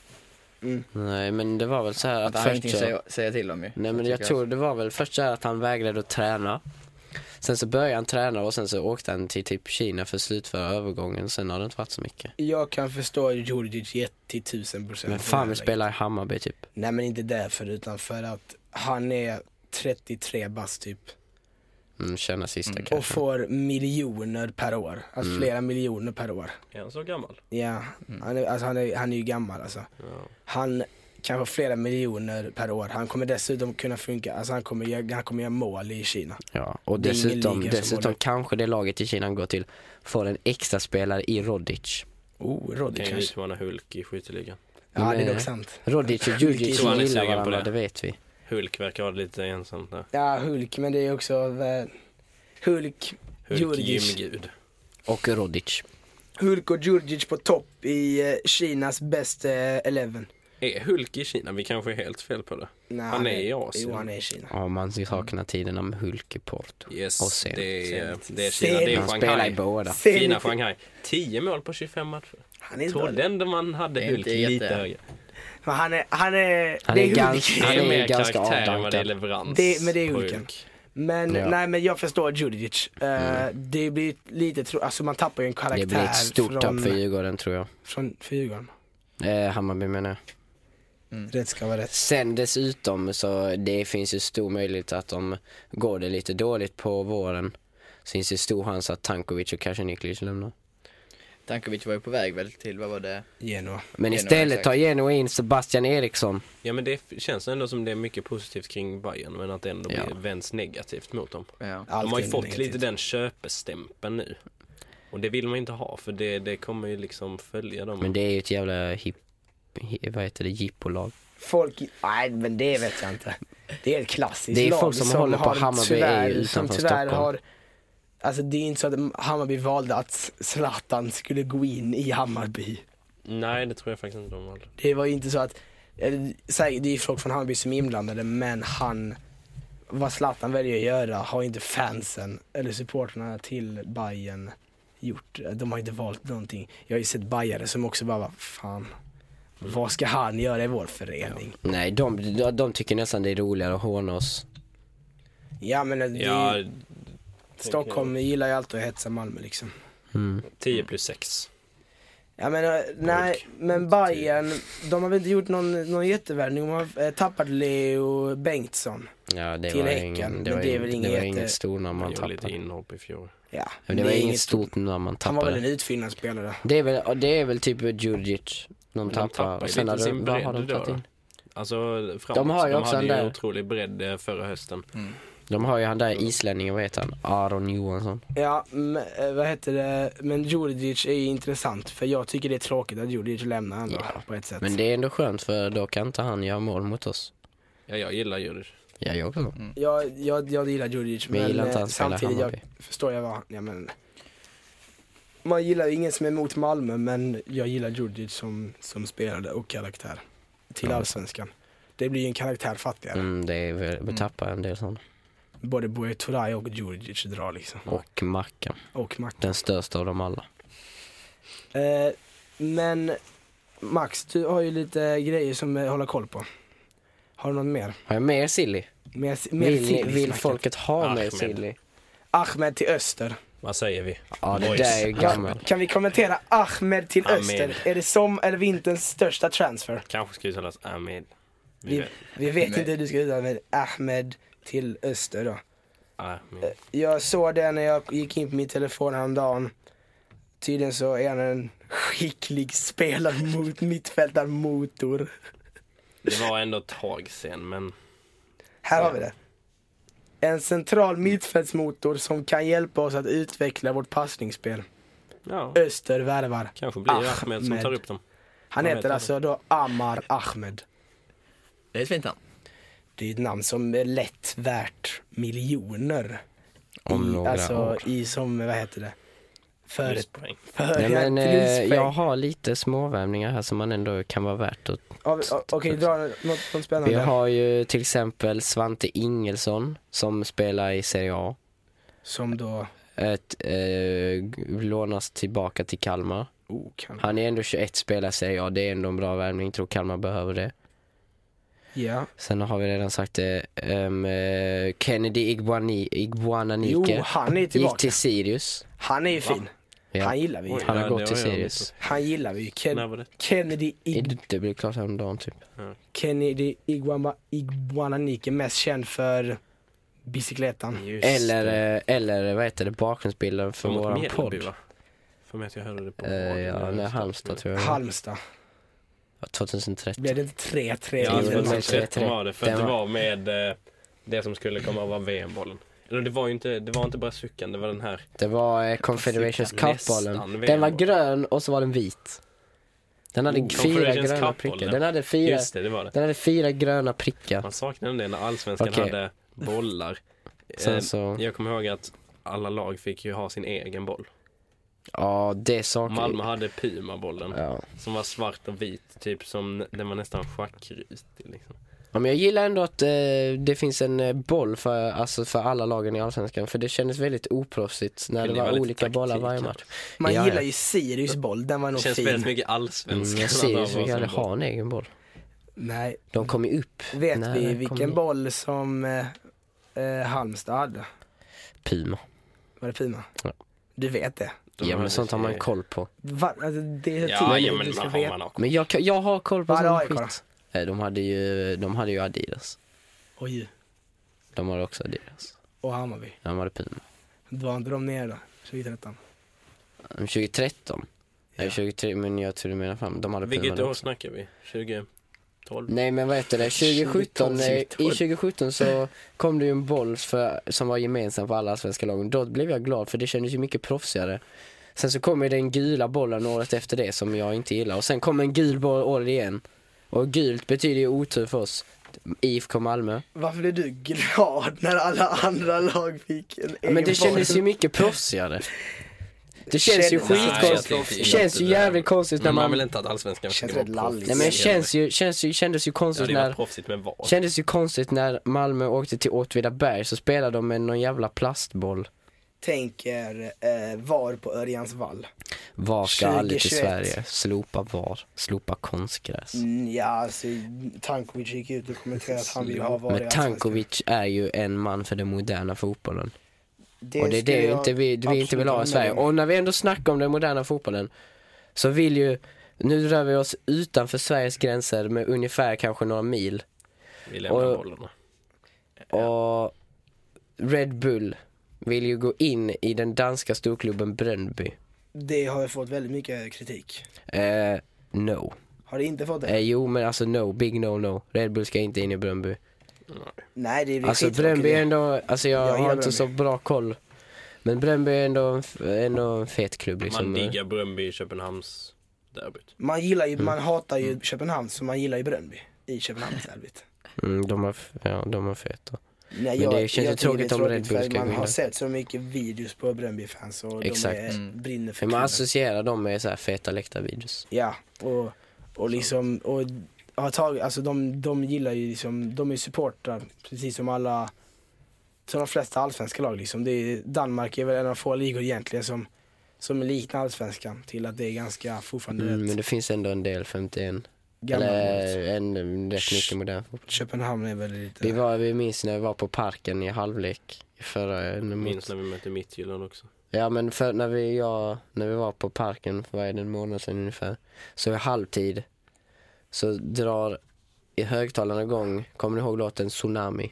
Nej men det var väl så här
Att
att
han har ingenting att
först så...
säga, säga till om ju.
Nej
Så
men jag
tycker
tror det var väl först så här att han vägrade att träna. Sen så började han träna och sen så åkte han till typ Kina för att slutföra övergången. Sen har det inte varit så mycket.
Jag kan förstå Djurdjic till tusen procent.
Men Famir spelar i Hammarby typ.
Nej men inte därför utan för att han är 33 bast typ.
Mm, tjänar sista
Mm.
Och
kanske.
får miljoner per år. Alltså
Mm.
flera miljoner per år.
Är han så gammal?
Ja, han är, alltså, han är, han är ju gammal alltså.
Ja.
Han kan få flera miljoner per år. Han kommer dessutom kunna funka, alltså han kommer, göra- han kommer göra mål i Kina.
Ja. Och
Det är ingen
dessutom,
liga som
dessutom
håller.
kanske det laget i Kina han går till får en extra spelare i Rodic.
Oh, Roddy
Kan ju
kanske.
utmana Hulk i skytteligan.
Ja, det är
Men,
dock sant.
Rodic och
Jag
Djurdjic
tror han är
gillar
sugen på
varandra,
det.
det. vet vi.
Hulk verkar ha det lite ensamt där.
Ja, Hulk, men det är också eh, Hulk,
Hulk
Djurdjic.
gymgud.
Och Rodic.
Hulk och Djurdjic på topp i eh, Kinas bäst eh, eleven.
Är Hulk i Kina? Vi kanske är helt fel på det.
Nej,
Han är i Asien.
Jo, han är i Kina.
Ja, man saknar tiderna med Hulk i Porto. Och
Yes,
sen-
det är,
sen-
det är Kina. Det är
Han spelar i
Shanghai.
båda.
Ser
Fina
ni-
Shanghai. 10 mål på 25 matcher.
Han är, inte
Trodde
dålig.
ändå man hade
Det är
Hulk
inte
lite
jätte-
högre.
Men han är, han är,
Han
det
är
Hulk.
ganska-
Det
Han är
är mer
ganska
karaktär än vad det är
avdankad.
leverans.
Det- men det är
på
Hulken.
Hulk.
Men
Ja. Mm.
nej, men jag förstår Djurdjic. Eh, Det blir lite, tro- alltså man tappar ju en karaktär
Det blir ett stort tapp
från,
för Djurgården tror jag.
från för Djurgården.
Eh, Hammarby menar jag.
Rätt ska vara rätt.
Sen dessutom så det finns ju stor möjlighet att om går det lite dåligt på våren så finns det stor chans att Tankovic och Kasaniklic lämnar.
Tankovic var ju på väg väl till, vad var det?
Genoa.
Men
Genoa,
istället
exakt.
tar Genoa in Sebastian Eriksson.
Ja men det f- känns ändå som det är mycket positivt kring Bayern men att det ändå
Ja.
blir- vänds negativt mot dem.
Ja.
Allt
De har ju
är
fått
negativt.
lite den köpestämpeln nu. Och det vill man inte ha för det, det kommer ju liksom följa dem.
Men det är ju ett jävla hip, hi- vad heter det, jippolag.
Folk, nej men det vet jag inte. Det är ett klassiskt
Det är
lag
folk som håller på
har
Hammarby är ju utanför Stockholm.
alltså det är inte så att Hammarby valde att Zlatan skulle gå in i Hammarby.
Nej det tror jag faktiskt inte de valde.
Det var ju inte så att, eller, säkert, det är ju folk från Hammarby som är inblandade men han, vad Zlatan väljer att göra har inte fansen eller supportrarna till Bayern gjort. De har inte valt någonting. Jag har ju sett bajare som också bara, vad fan, vad ska han göra i vår förening?
Nej, de, de, de tycker nästan det är roligare att håna oss.
Ja, men det,
Ja,
Stockholm gillar ju alltid att hetsa Malmö liksom.
Mm.
10 plus 6.
Jag menar, eh, nej,
typ.
men Bayern, de har väl inte gjort någon, någon jättevärvning. De har eh, tappat Leo Bengtsson.
Ja, det
Till
var
Häcken,
ingen,
men
det var
det är väl
inget, det
inget eh,
var
jätte-
inget stort namn
Man
man
gjorde lite
tappade.
inhopp i fjol.
Ja,
Men det var
är
inget
inget-
stort namn man
Han var väl
tappade.
en utfyllnadsspelare.
Det är väl, det är väl typ Djurdjic de
de tappar
tappar.
ju
Och sen
lite
har de-
sin
vad har de
bredd då,
tagit in?
Alltså framåt.
De har ju också
hade
den
ju
där-
otrolig bredd eh, förra hösten.
Mm,
De har ju han där islänningen, vad heter han? Aron Johansson.
Ja, men, eh, vad heter det? Men Djurdjic är ju intressant för jag tycker det är tråkigt att Djurdjic lämnar ändå
Ja,
på ett sätt.
Men det är ändå skönt för då kan inte han göra mål mot oss.
Ja jag gillar ju
Ja, jag också.
mm.
Jag, jag, jag gillar Djurdjic
Men jag
men,
gillar inte
eh,
han spelar
samtidigt jag
Hammarby.
förstår jag vad, ja men. Man gillar ju ingen som är emot Malmö men jag gillar Djurdjic som, som spelare och karaktär. Till
Ja.
allsvenskan. Det blir ju en karaktär fattigare.
Mm, det är väl, vi tappar en del sådana.
Både Buye Turay och Djurdjic drar liksom.
Och Mackan,
Och Max.
den största av dem alla.
Eh, men Max, du har ju lite grejer som eh, håller koll på. Har du något mer?
Har jag mer silly?
Mer, mer
Vill,
silly
vill
snacket.
folket ha
Ahmed.
mer silly?
Ahmed till öster.
Vad säger vi?
Ja, det
Boys.
där är ju
Kan,
gammalt.
kan vi kommentera Ahmed till
Amen.
öster? Är det som eller vinterns största transfer?
Kanske ska uttalas Amid. Vi
Vi,
vet.
vi vet
Nej.
inte hur du ska uttala det. Ahmed till öster då.
Amid.
Eh, Jag såg det när jag gick in på min telefon häromdagen. Tydligen så är han en skicklig spelare mot mittfältarmotor.
Det var ändå ett tag sen men
Här har vi det. En central mittfältsmotor som kan hjälpa oss att utveckla vårt passningsspel.
ja.
Öster värvar.
Kanske
Ah,
blir det Ahmed som
Ahmed.
tar upp dem.
Han
Vad
heter
heter han?
alltså då Ammar Ahmed.
Det är ett fint namn.
Det är ett namn som är lätt värt miljoner.
Om
I,
några
alltså
år.
i som, vad heter det? För,
Poäng.
för
Nej, men, eh, jag
ja.
har lite småvärvningar här som man ändå kan vara värt att
Okej, dra något, något spännande.
Vi har ju till exempel Svante Ingelsson som spelar i Serie A.
Som då,
Ett, eh, lånas tillbaka till Kalmar.
oh, kan.
Han är ändå 21 spelare i Serie A. Det är ändå en bra värvning. Tror Kalmar behöver det.
Ja.
Sen har vi redan sagt det. ehm, eh, Kennedy Igbuani, Igbuananike
Jo, han är
gick
tillbaka.
till Sirius.
Han är ju fin.
Ja.
Han gillar vi ju.
Oj.
Han har
Ja, det
gått till
har jag
Sirius.
Han gillar vi ju.
När
Ken-
var det?
Kennedy, Ig-
Det blev klart häromdagen typ.
Kennedy Iguama- Iguananike, mest känd för bicicletan.
Just
Eller, eh, eller vad heter det, bakgrundsbilden för
Mot
våran
Mjällby,
podd.
va? För mig att jag hörde det på
Eh, ja,
radion.
när Halmstad tror jag.
Halmstad.
Ja, 2013.
Blev det inte 3-3?
Ja,
det
det
var
var
tre, tre.
var det. För att
Den
det
var-
var med eh, det som skulle komma var VM-bollen. Eller det var ju inte, det var inte Brazucan, det var den här.
Det var eh, Confederations
Nästan
Cup-bollen. Den var
VM-bollen.
grön och så var den vit. Den hade
Oh,
fyra
Confederations
gröna
Cup-bollen,
prickar.
ja.
Den hade fyra,
Just det, det var det.
den hade fyra gröna prickar.
Man saknade det när allsvenskan
Okej.
hade bollar. Eh,
*laughs* Sen så,
Jag kommer ihåg att alla lag fick ju ha sin egen boll.
ja det saknar
Malmö hade Puma-bollen
Ja.
som var svart och vit, typ som den var nästan schackrutig. Liksom.
Ja, men jag gillar ändå att eh, det finns en eh, boll för, alltså, för alla lagen i Allsvenskan. För det kändes väldigt oproffsigt när
Men
det
det var
var
lite
olika bollar
taktik,
varje
ja.
match.
Man
Ja, ja.
gillar ju Sirius boll, den var nog
Känns
fin.
väldigt mycket allsvenskan.
Mm, jag
att
ser ju
ha
så
var
vi aldrig
som boll.
har en egen boll.
Nej,
De kom ju upp,
vet
Nej,
vi
den kom
vilken
in.
boll som eh, eh, Halmstad hade?
Puma.
Var det Puma?
Ja.
Du vet det?
De
ja men
hade
sånt har man
sig-
koll på.
Va? Alltså, det är
Ja,
tydligt
ja
att
men
du ska
man har
veta.
man också.
Men jag, kan- jag har koll på
Vad
sån
har AIK då?
skit. Eh, De hade ju, de hade ju Adidas.
Oj,
De hade också Adidas.
och Hammarby.
De hade Puma.
Drar inte de ner då? 2013?
Eh, 2013? Nej 23, men jag tror du menar fram. De hade Puma
Vilket
då
år
också.
snackar vi? 2012?
Nej men vad heter det, 2017, eh,
2012.
i 2017 så kom det ju en boll för, som var gemensam för alla svenska lag. Då blev jag glad för det kändes ju mycket proffsigare. Sen så kom ju den gula bollen året efter det som jag inte gillar och sen kom en gul boll året igen. Och gult betyder ju otur för oss. IFK Malmö.
Varför blev du glad när alla andra lag fick en
Ja,
egen
men det
boll?
kändes ju mycket proffsigare. Det känns ju
Kändes- Nej, jag
skitkonstigt.
tycker
Det känns ju jävligt konstigt när
Men man
man...
vill inte att allsvenskan ska
Känns
vara
rätt lalligt.
Nej men känns ju, känns ju, kändes ju
Det hade
konstigt
ju
när...
varit proffsigt med VAR.
Kändes ju konstigt när Malmö åkte till Åtvidaberg så spelade de med någon jävla plastboll.
Tänker eh, VAR på Örjans vall.
VAR ska aldrig till
2021.
Sverige. Slopa VAR. Slopa konstgräs.
Mm, ja, alltså Tankovic gick ut och kommenterade att han vill ha VAR i
Men
Allsvenskan.
Tankovic är ju en man för den moderna fotbollen. och det är
skulle
det
jag
inte vi, vi
absolut
inte vill ha i
använda
Sverige.
dem.
Och när vi ändå snackar om den moderna fotbollen så vill ju, nu rör vi oss utanför Sveriges gränser med ungefär kanske några mil.
Vi lämnar
och-
bollarna.
Och Red Bull vill ju gå in i den danska storklubben Brøndby.
Det har ju fått väldigt mycket kritik.
Eh, no.
Har det inte fått det?
Eh, jo men alltså no, big no no. Red Bull ska inte in i Brøndby.
Nej, det är
Alltså
skittråkigt.
Brøndby är ändå, alltså jag,
Jag
har
gillar
inte så bra koll. Men Brøndby är ändå, en f- ändå en fet klubb liksom.
Man diggar Bröndby i Köpenhamns derbyt.
Man gillar ju,
Mm.
man hatar ju Köpenhamn så man gillar ju Bröndby i Köpenhamnsderbyt.
Mm, de är, f- ja de är feta.
Nej,
Men det känns ju
tycker
tråkigt om
tråkigt
Red Bull
för
ska
Man
vinna.
har sett så mycket videos på Bröndby-fans och
Exakt.
de är, brinner för
För man
klubben.
associerar dem med så här feta läktarvideos.
Ja, och, och liksom, och har tagit, alltså de, de gillar ju liksom, de är supportrar precis som alla, som de flesta allsvenska lag liksom. Det är, Danmark är väl en av få ligor egentligen som, som liknar allsvenskan till att det är ganska fortfarande
Mm, men
rätt
det finns ändå en del 51.
gammalt.
Eller en, rätt mycket modern fotboll.
Köpenhamn är väl lite...
Vi, var, vi minns när vi var på parken i halvlek. i Förra, när mot-
Minns när vi mötte Midtjylland också.
Ja men för, när, vi, ja, när vi var på parken för vad är det, en månad sedan ungefär. Så i halvtid så drar i högtalarna igång, kommer ni ihåg låten Tsunami?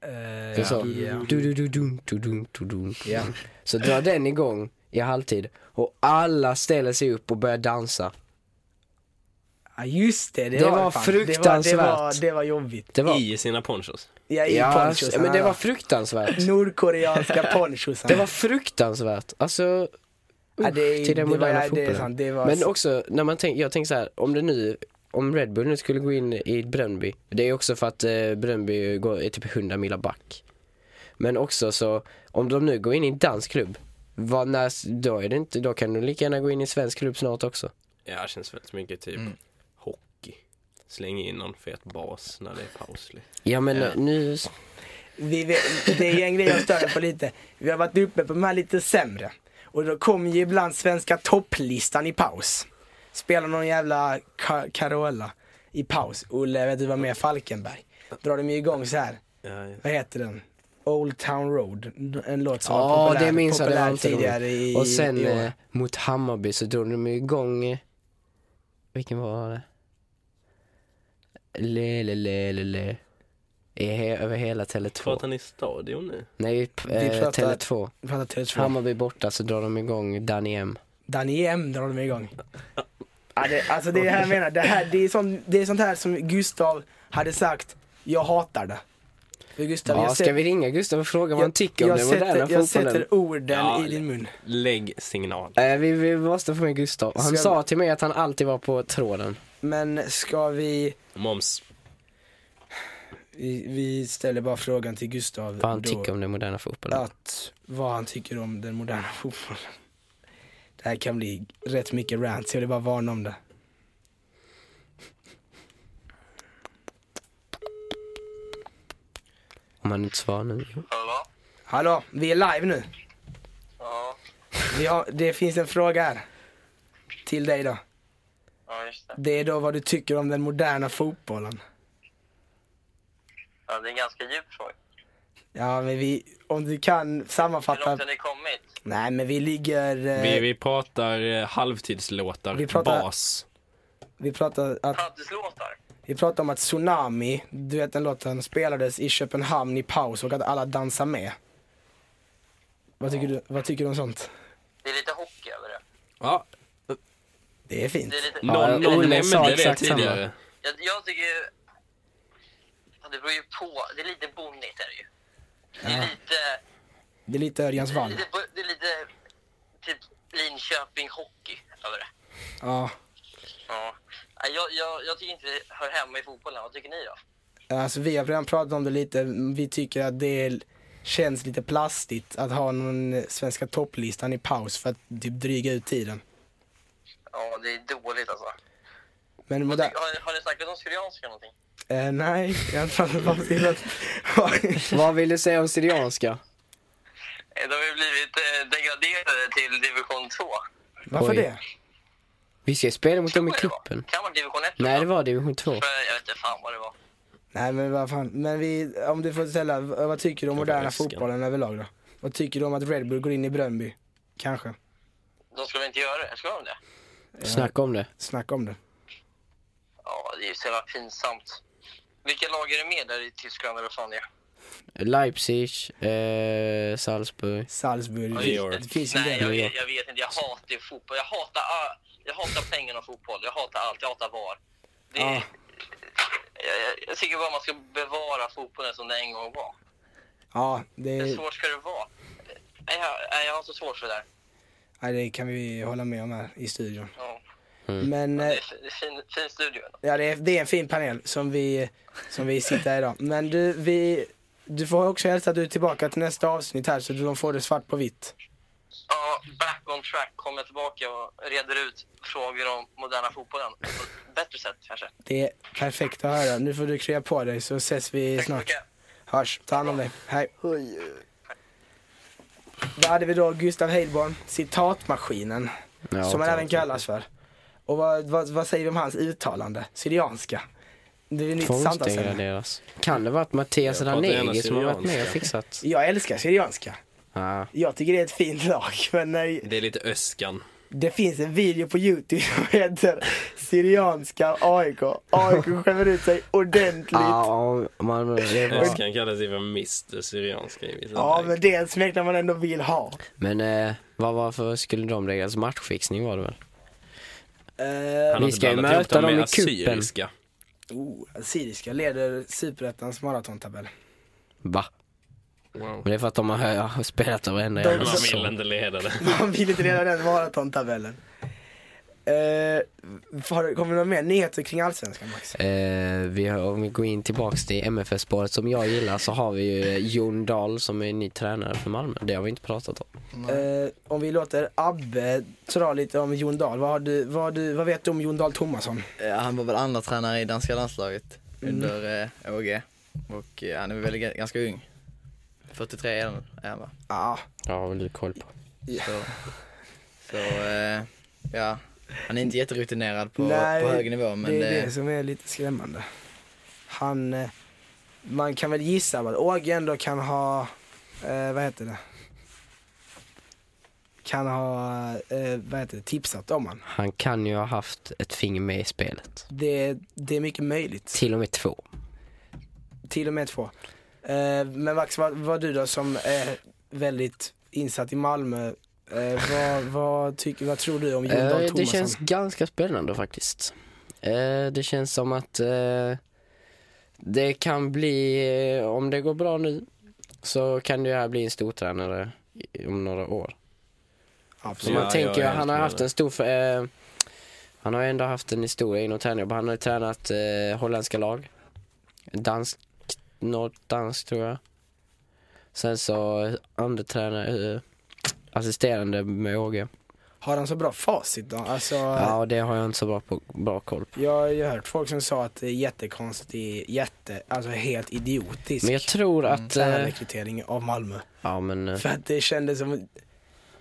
Eh,
Det är så.
ja.
Du-du-du-dum, du-dum, du-dum.
Ja.
Så drar den igång i halvtid och alla ställer sig upp och börjar dansa.
Ja just det, det,
Det
var,
var
fan- Det var, det
fruktansvärt.
var, det var jobbigt.
Det var,
I sina ponchos.
Ja, i
ja,
ponchos,
men det
ja.
var fruktansvärt.
Nordkoreanska ponchos.
Det var fruktansvärt. Alltså,
ja, det, är-
till den
det var-
moderna
ja, Det
fotbollen.
är sant, det var...
Men också, när man tänk, jag tänker så här, om det nu, om Red Bull nu skulle gå in i Bröndby, det är också för att eh, Bröndby går, är typ 100 mila back. Men också så, om de nu går in i en dansk klubb, vad, när, då, är det inte, då kan de lika gärna gå in i en svensk klubb snart också.
Ja, det känns väldigt mycket typ
Mm.
hockey. Släng in någon fet bas när det är paus. liksom.
Ja men
Ja.
nu,
Vi vet, det är ju en grej jag stör mig på lite. Vi har varit uppe på de här lite sämre. Och då kommer ju ibland svenska topplistan i paus. Spelar någon jävla Ka- Carola. i paus. Olle, vet du vad mer Falkenberg? Drar de ju igång så här.
Ja, ja.
vad heter den? Old Town Road, en låt som
Ja,
var populär,
det minns jag, det var
populär
alltid
tidigare i
Och sen
i år.
eh, mot Hammarby så drog de igång, eh, vilken var det? Le, le, le, le, le. I he, över hela Tele2.
Pratar ni stadion nu?
Nej, p-
Vi
eh,
pratar-
Tele2.
Vi pratar Tele2.
Hammarby borta så alltså drar de igång Danny M.
Danny M drar de igång. Ja, det, alltså det är det här jag menar, det, här, det, är sånt, det är sånt här som Gustav hade sagt, jag hatar det. För Gustav,
Ja,
jag,
ska
sätter-
vi ringa Gustav och fråga vad han
jag-
tycker
jag
om den moderna
sätter, jag
fotbollen?
sätter orden
Ja,
i din mun.
Lägg signal.
Eh, vi, vi måste få med Gustav. Han
Ska vi-
sa till mig att han alltid var på tråden.
Men ska vi,
Moms.
vi, vi ställer bara frågan till Gustav
Vad han
då,
tycker om den moderna fotbollen.
att, vad han tycker om den moderna fotbollen. Det här kan bli rätt mycket rant, så jag vill bara varna om det.
Om han inte
*laughs*
svarar nu.
Hallå?
Hallå, vi är live nu.
Ja,
Vi har, det finns en fråga här. Till dig då.
ja just det.
Det är då vad du tycker om den moderna fotbollen.
Ja, det är en ganska djup fråga.
Ja, men vi, om du kan
Hur
sammanfatta.
långt har ni kommit?
Nej, men vi ligger... Eh,
Vi,
vi,
vi pratar eh, halvtidslåtar,
Vi pratar-
bas.
pratar att,
Paddelslåtar?
vi pratar om att Tsunami, du vet den låten, spelades i Köpenhamn i paus och att alla dansar med. Vad tycker du, vad tycker du om sånt?
Det är lite hockey över det.
Ja,
Det är fint.
det är lite,
någon
Ja,
någon
Olle
nämnde
sa
det
exakt samma.
tidigare.
jag, jag tycker ju... Ja, det beror ju på. Det är lite bonnigt är det ju. Det är lite...
Det är lite Örjans
Det är
Wall.
lite, bo- det är lite typ Linköping hockey över det.
Ja.
Ja. Nej, Jag, jag, jag tycker inte det hör hemma i fotbollen. Vad tycker ni då?
Alltså vi har redan pratat om det lite. Vi tycker att det är- känns lite plastigt att ha någon svenska topplistan i paus för att typ dryga ut tiden.
Ja, det är dåligt alltså.
Men
Vad
moder-
tycker- Har, har ni snackat om Syrianska någonting?
eh, nej, jag har inte pratat om det.
Vad vill du säga om Syrianska?
Eh, De har ju blivit eh, degraderade till division 2.
Varför
Oj.
det?
Vi ska ju spela mot dem i
Tror jag det var.
kuppen.
Kan vara division 1?
Nej, det var division 2.
Jag vet inte fan vad det var.
Nej men vad fan. Men vi, om du får ställa, v- vad tycker du om
Jag får
moderna
väskan.
fotbollen överlag då? Vad tycker du om att Red Bull går in i Bröndby? Kanske.
De ska väl inte göra det? Ska de det?
Snacka om det.
Snacka om det.
Ja, det är ju så jävla pinsamt. Vilka lag är det med där i Tyskland eller vad fan det är?
Leipzig, eh, Salzburg.
Salzburg.
Oj,
Det
oj.
finns- det finns ju
Nej, jag,
det.
vet- jag vet inte. Jag hatar ju fotboll. Jag hatar, ö- jag hatar pengarna och fotboll. Jag hatar allt. Jag hatar VAR. Det är,
Ja.
jag, jag- jag tycker bara man ska bevara fotbollen som den en gång var.
Ja, det,
Hur svårt ska det vara? Nej, jag, nej, jag har så svårt för det där.
nej, det kan vi hålla med om här i studion.
Ja.
Men...
Det
eh,
är fi- det är fin, fin studio. ändå.
Ja, det är, det är en fin panel som vi, som vi sitter här idag. Men du, vi, du får också hälsa att du är tillbaka till nästa avsnitt här så de får det svart på vitt.
Ja, back on track. Kommer tillbaka och reder ut frågor om moderna fotbollen. På ett bättre sätt kanske.
Det är perfekt att höra. Nu får du krya på dig så ses vi
Tack så
snart.
mycket.
Hörs. Ta hand om dig. Hej. Där hade vi då Gustav Heilborn, citatmaskinen,
Ja,
som han
ta-
även kallas för. Och vad, vad, vad säger vi om hans uttalande? Syrianska. Det är nytt samtalsämne.
Tvångsdegraderas. Kan det varit Mattias
Jag pratar gärna
Ranegi som har varit med och
syrianska.
fixat?
Jag älskar syrianska.
Ja.
Jag tycker det är ett fint lag, *laughs* men nej,
Det är lite öskan.
Det finns en video på youtube som heter Syrianska AIK. AIK skämmer ut sig ordentligt. Ja,
Ja, man, det var...
Öskan kallas ju för Mr Syrianska i vissa
men
lägen.
det är ett smeknamn man ändå vill ha.
Men eh, vad, varför skulle de degraderas? Matchfixning var det väl?
Uh,
Han har
vi
inte
ska ju
blandat ihop
möta dem
med
i kuppen.
assyriska.
Eh, oh, Syriska leder superettans maratontabell.
Va?
Wow.
Men det är för att de har, har spelat varenda
De-
jävla
Man vill
säsong.
inte leda det.
*laughs* Man vill inte leda den maratontabellen. Uh, har, kommer det några mer nyheter kring allsvenskan Max?
Eh, vi har, om vi går in tillbaks till MFF-spåret som jag gillar så har vi ju eh, Jon Dahl som är ny tränare för Malmö. Det har vi inte pratat om.
Eh, om vi låter Abbe dra lite om Jon Dahl. Vad, har du, vad, har du, vad vet du om Jon Dahl Tomasson?
Eh, Han var väl andra tränare i danska landslaget under eh, OG. Och eh, han är väl g- ganska ung. 43 är han, är han va?
Ja,
Ja, har väl du koll på.
Så, så eh, ja. Han är inte jätterutinerad på,
Nej,
på hög nivå men
det är
det,
det som är lite skrämmande. Han, eh, man kan väl gissa att Åge ändå kan ha, eh, vad heter det? Kan ha, eh, vad heter det, tipsat om han.
Han kan ju ha haft ett finger med i spelet.
Det, det är mycket möjligt.
Till och med två.
Till och med två. Eh, men Max, vad, vad du då som är väldigt insatt i Malmö, eh, vad, vad, tycker, vad tror du om Jon Dahl
Eh, det
Tomasson?
känns ganska spännande faktiskt. Eh, det känns som att eh, det kan bli, eh, om det går bra nu, så kan det här bli en stortränare i- om några år. För
Absolut.
man
Ja, jag
tänker
är
ju, han
helt
har
med
haft
dig.
en stor, för, eh, han har ju ändå haft en historia inom träning. Han har ju tränat eh, holländska lag, dansk, något danskt tror jag. Sen så undertränare, eh, assisterande med Åge.
Har han så bra facit då? Alltså,
Ja, det har jag inte så bra, på, bra koll på.
Jag har ju hört folk som sa att det är jättekonstigt, det är jätte, alltså helt idiotisk
Men jag tror
Mm,
att... eh,
tränarrekrytering av Malmö.
ja, men, eh,
liksom. För att det kändes som,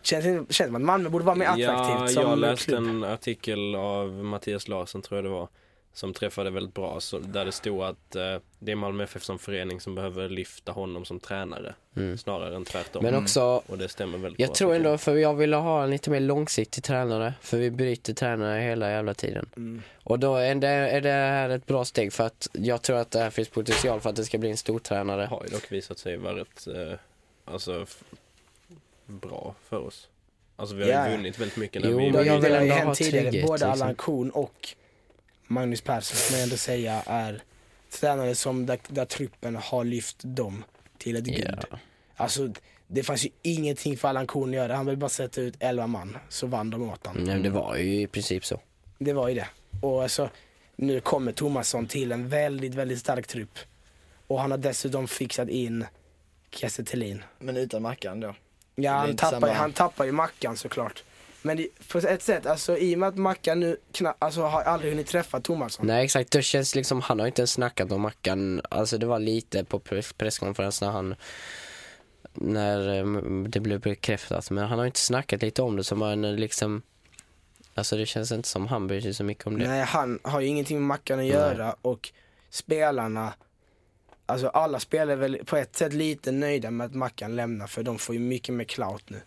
känns, känns som att Malmö borde vara mer
Ja,
attraktivt som
jag läste
klubb.
en artikel av Mattias Larsson tror jag det var. Som träffade väldigt bra, så där det stod att eh, det är Malmö FF som förening som behöver lyfta honom som tränare.
Mm.
Snarare än tvärtom.
men också,
och det stämmer väldigt bra.
jag tror
tycker
ändå, för jag ville ha en lite mer långsiktig tränare, för vi byter tränare hela jävla tiden.
Mm.
Och då är det, är det här ett bra steg för att jag tror att det här finns potential för att det ska bli en stor
jag.
tränare.
Har ju dock visat sig vara rätt, eh, alltså, f- bra för oss. Alltså vi har
Ja,
ju
ja.
vunnit väldigt mycket när
Jo,
vi
men
Det har
jag
ju-
vill
det har ju
ändå ha
hänt tidigare,
trygghet,
både
liksom.
Allan Kuhn och Magnus Persson som jag ändå säga är tränare som där, där truppen har lyft dem till ett guld.
Ja.
Alltså det fanns ju ingenting för Allan Kuhn att göra, han ville bara sätta ut 11 man så vann de åt honom.
Nej, men det var ju i princip så.
Det var ju det. Och alltså, nu kommer Tomasson till en väldigt, väldigt stark trupp. Och han har dessutom fixat in Kiese Thelin.
men utan Mackan då.
Ja,
är
han
inte
tappar, ju-
samma-
han tappar ju Mackan såklart. Men det, på ett sätt, alltså i och med att Mackan nu kna- alltså, har aldrig hunnit träffa Tomasson.
Nej exakt, det känns liksom, han har ju inte ens snackat om Mackan. Alltså det var lite på press- presskonferensen när han, när eh, m- det blev bekräftat. Men han har ju inte snackat lite om det som en eh, liksom, alltså det känns inte som han bryr sig så mycket om det.
Nej, han har ju ingenting med Mackan att göra och spelarna, alltså alla spelare är väl på ett sätt lite nöjda med att Mackan lämnar för de får ju mycket mer clout nu.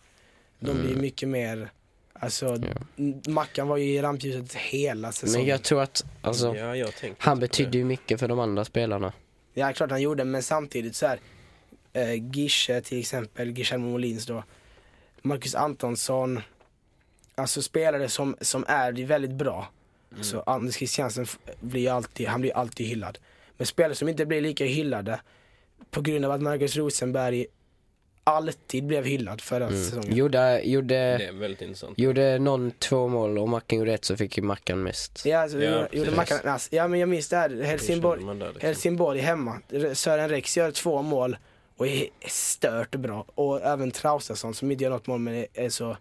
De
Mm.
blir ju mycket mer, alltså m- Mackan var ju i rampljuset hela säsongen.
Men jag tror att, alltså,
Ja, jag tänkte
han
inte på det.
betydde ju mycket för de andra spelarna.
Ja, klart han gjorde, men samtidigt så här. Eh, Gische till exempel, Guillermo Molins då. Marcus Antonsson. Alltså spelare som, som är väldigt bra.
Mm.
Så Anders Christiansen f- blir ju alltid, han blir alltid hyllad. Men spelare som inte blir lika hyllade på grund av att Marcus Rosenberg alltid blev hyllad förra
Mm.
säsongen.
Gjorde,
Det
gjorde,
är väldigt intressant.
gjorde någon två mål och Mackan gjorde ett så fick ju Mackan mest.
Ja, alltså,
Ja,
gjorde- gjorde
precis.
Mackan, alltså, ja, men jag minns det här.
Hur känner
Helsingborg,
man där, liksom?
Helsingborg hemma. Sören Rex gör två mål och är stört bra. Och även Traustason som inte gör något mål men är så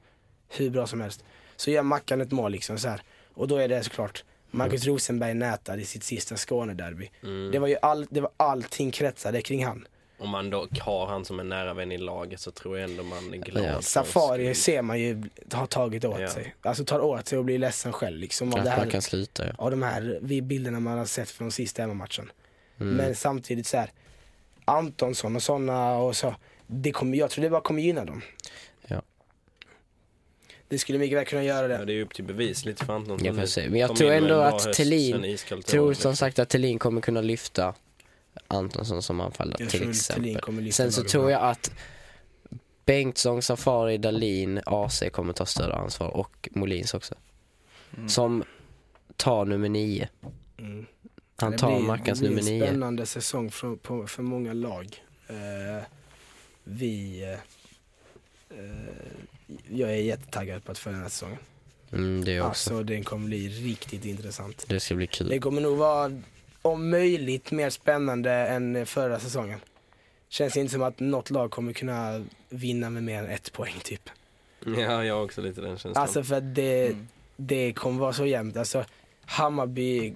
hur bra som helst. Så gör Mackan ett mål liksom så här. Och då är det såklart Marcus
Mm.
Rosenberg nätad i sitt sista Skånederby. Det var ju all, det var allting kretsade kring han.
Om man dock har han som en nära vän i laget så tror jag ändå man är glad. för hans
Safari
skull.
ser man ju har tagit åt
Ja.
sig. Alltså tar åt sig och blir ledsen själv liksom. Av
Att
det här
man kan sluta ja.
av de här vi- bilderna man har sett från sista hemmamatchen.
Mm.
Men samtidigt så här, Antonsson och sådana och så, det kommer, jag tror det bara kommer gynna dem.
Ja.
Det skulle mycket väl kunna göra
Ja,
det.
det är ju upp till bevis lite för Anton.
Jag får
Han
se. Men jag
kom in
tror
med
ändå
en bra
att
höst,
Thelin
sen iskallt
tror
år,
som
liksom.
sagt att Thelin kommer kunna lyfta Antonsson som anfallare
Jag
till
tror Thelin kommer
exempel.
lyfta
Sen så
laget
tror
bra.
jag att Bengtsson, Safari, Dalin, AC kommer ta större ansvar och Molins också. Som tar nummer nio.
Mm.
Han
Det
tar
blir-
Mackans nummer
Det blir en
nio.
spännande säsong för, på, för många lag. Eh, vi... eh, eh, jag är jättetaggad på att följa den här säsongen.
Mm, det är jag också.
Alltså den kommer bli riktigt intressant.
Det ska bli kul.
Det kommer nog vara om möjligt mer spännande än förra säsongen. Känns inte som att något lag kommer kunna vinna med mer än ett poäng typ.
*laughs* Ja, jag har också lite den känslan.
Alltså för att det,
Mm.
Mm.
det kommer vara så jämnt. Alltså Hammarby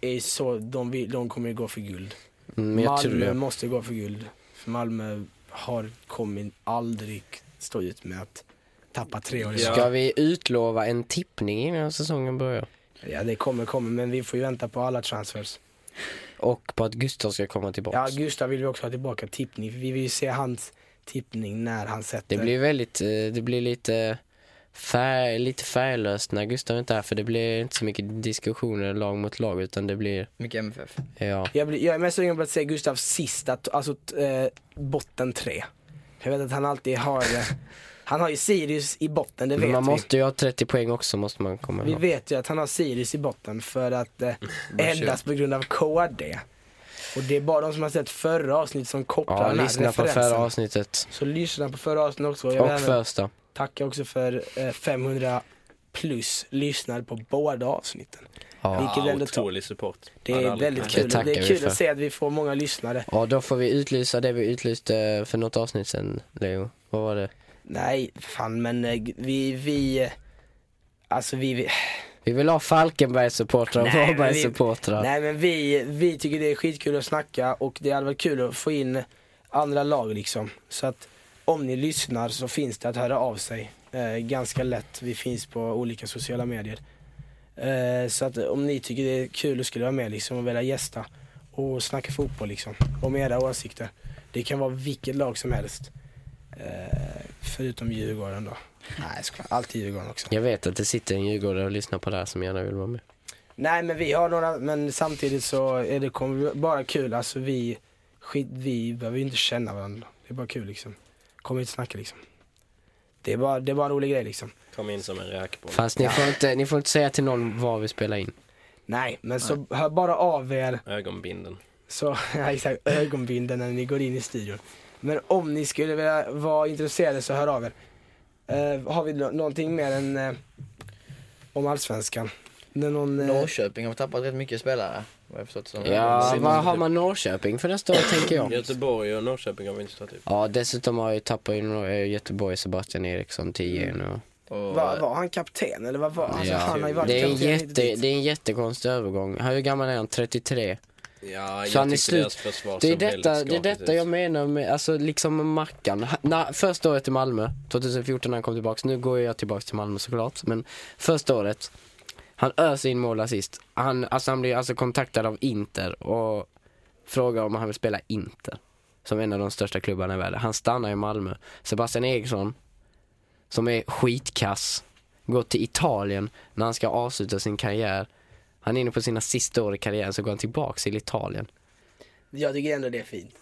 är så, de, vill, de kommer ju gå för guld.
Mm, Men jag tror
Malmö
det.
måste gå för guld. För Malmö har, kommer aldrig stå ut med att Tappat tre år i
Ja.
rad.
Ska vi utlova en tippning innan säsongen börjar?
Ja, det kommer, kommer, men vi får ju vänta på alla transfers.
Och på att Gustav ska komma tillbaka.
Ja, Gustav vill vi också ha tillbaka tippning, för vi vill ju se hans tippning när han sätter.
det blir väldigt, eh, det blir lite, färg, lite färglöst när Gustav inte är här för det blir inte så mycket diskussioner lag mot lag utan det blir,
Mycket MFF.
ja.
Jag, blir, jag är mest sugen på att se Gustavs sista, t- alltså t- eh, botten tre. Jag vet att han alltid har,
*laughs*
eh, han har ju Sirius i botten, det
Men
vet
man
vi.
måste ju ha 30 poäng också måste man komma
Vi
ihåg.
vet ju att han har Sirius i botten för att eh,
Mm,
*laughs* endast på grund av KD. Och det är bara de som har sett förra avsnittet som kopplar
Ja,
den här
lyssna på
referensen.
förra avsnittet.
Så lyssna på förra avsnittet också. Jag vill
Och
även
första.
tacka också för eh, 500 plus lyssnare på båda avsnitten.
Ja.
Vilket är ändå to-
Otrolig support.
det
Hade
är
aldrig
väldigt
kunnat-
Det
kul. Det,
tackar
är
vi
kul
för.
att se att vi får många lyssnare.
ja, då får vi utlysa det vi utlyste för något avsnitt sen, Leo. Vad var det?
Nej, fan men eh, vi, vi, eh, alltså vi, vi
Vi vill ha Falkenberg-supportrar och
Nej, men vi-
Varberg-supportrar.
Nej men vi, vi tycker det är skitkul att snacka och det hade varit kul att få in andra lag liksom. Så att om ni lyssnar så finns det att höra av sig eh, ganska lätt. Vi finns på olika sociala medier. Eh, så att om ni tycker det är kul och skulle vara med liksom och vilja gästa och snacka fotboll liksom. Om era åsikter. Det kan vara vilket lag som helst. Eh, förutom Djurgården då. Nej jag skojar. Alltid Djurgården också.
Jag vet att det sitter en djurgårdare och lyssnar på det här som gärna vill vara med.
Nej men vi har några, men samtidigt så är det kommer bara kul. Alltså vi, skit, vi behöver ju inte känna varandra. Det är bara kul liksom. Kommer inte snacka liksom. Det är bara, det är bara en rolig grej liksom.
Kom in som en räkboll.
Fast ni, får inte, ni får inte säga till någon var vi spelar in.
Nej men så hör bara av er,
Ögonbinden.
så, *laughs* ja, exakt, ögonbinden när ni går in i studion. Men om ni skulle vilja vara intresserade så hör av er. Eh, har vi nå- någonting mer än eh, om allsvenskan? Det är Någon, eh,
Norrköping har tappat rätt mycket spelare. Vad jag förstått som.
Ja,
Simonsson
vad har
typ.
man Norrköping för nästa år tänker jag?
Göteborg och Norrköping har vi inte tagit upp.
Ja, dessutom har jag tappat in eh, Göteborg Sebastian Eriksson till nu.
Och,
var, var han kapten eller vad var alltså,
Ja.
han? Har ju varit
Det är, en
kapten hit och
jätte,
dit.
det är en jättekonstig övergång. Hur gammal är han? 33?
Ja,
Så han
jag
är
tyckte
slut.
deras försvar
Det är
såg
detta,
väldigt
det är
skakigt
detta
ut.
jag menar med, alltså liksom med Mackan. Ha- Na, första året i Malmö, 2014 när han kom tillbaks. Nu går jag tillbaks till Malmö såklart. Men första året, han öser in mål och assist. Han, alltså han blir alltså kontaktad av Inter och frågar om han vill spela Inter. Som en av de största klubbarna i världen. Han stannar i Malmö. Sebastian Eriksson, som är skitkass, går till Italien när han ska avsluta sin karriär. Han är inne på sina sista år i karriären så går han tillbaks till Italien.
Jag tycker ändå det är fint.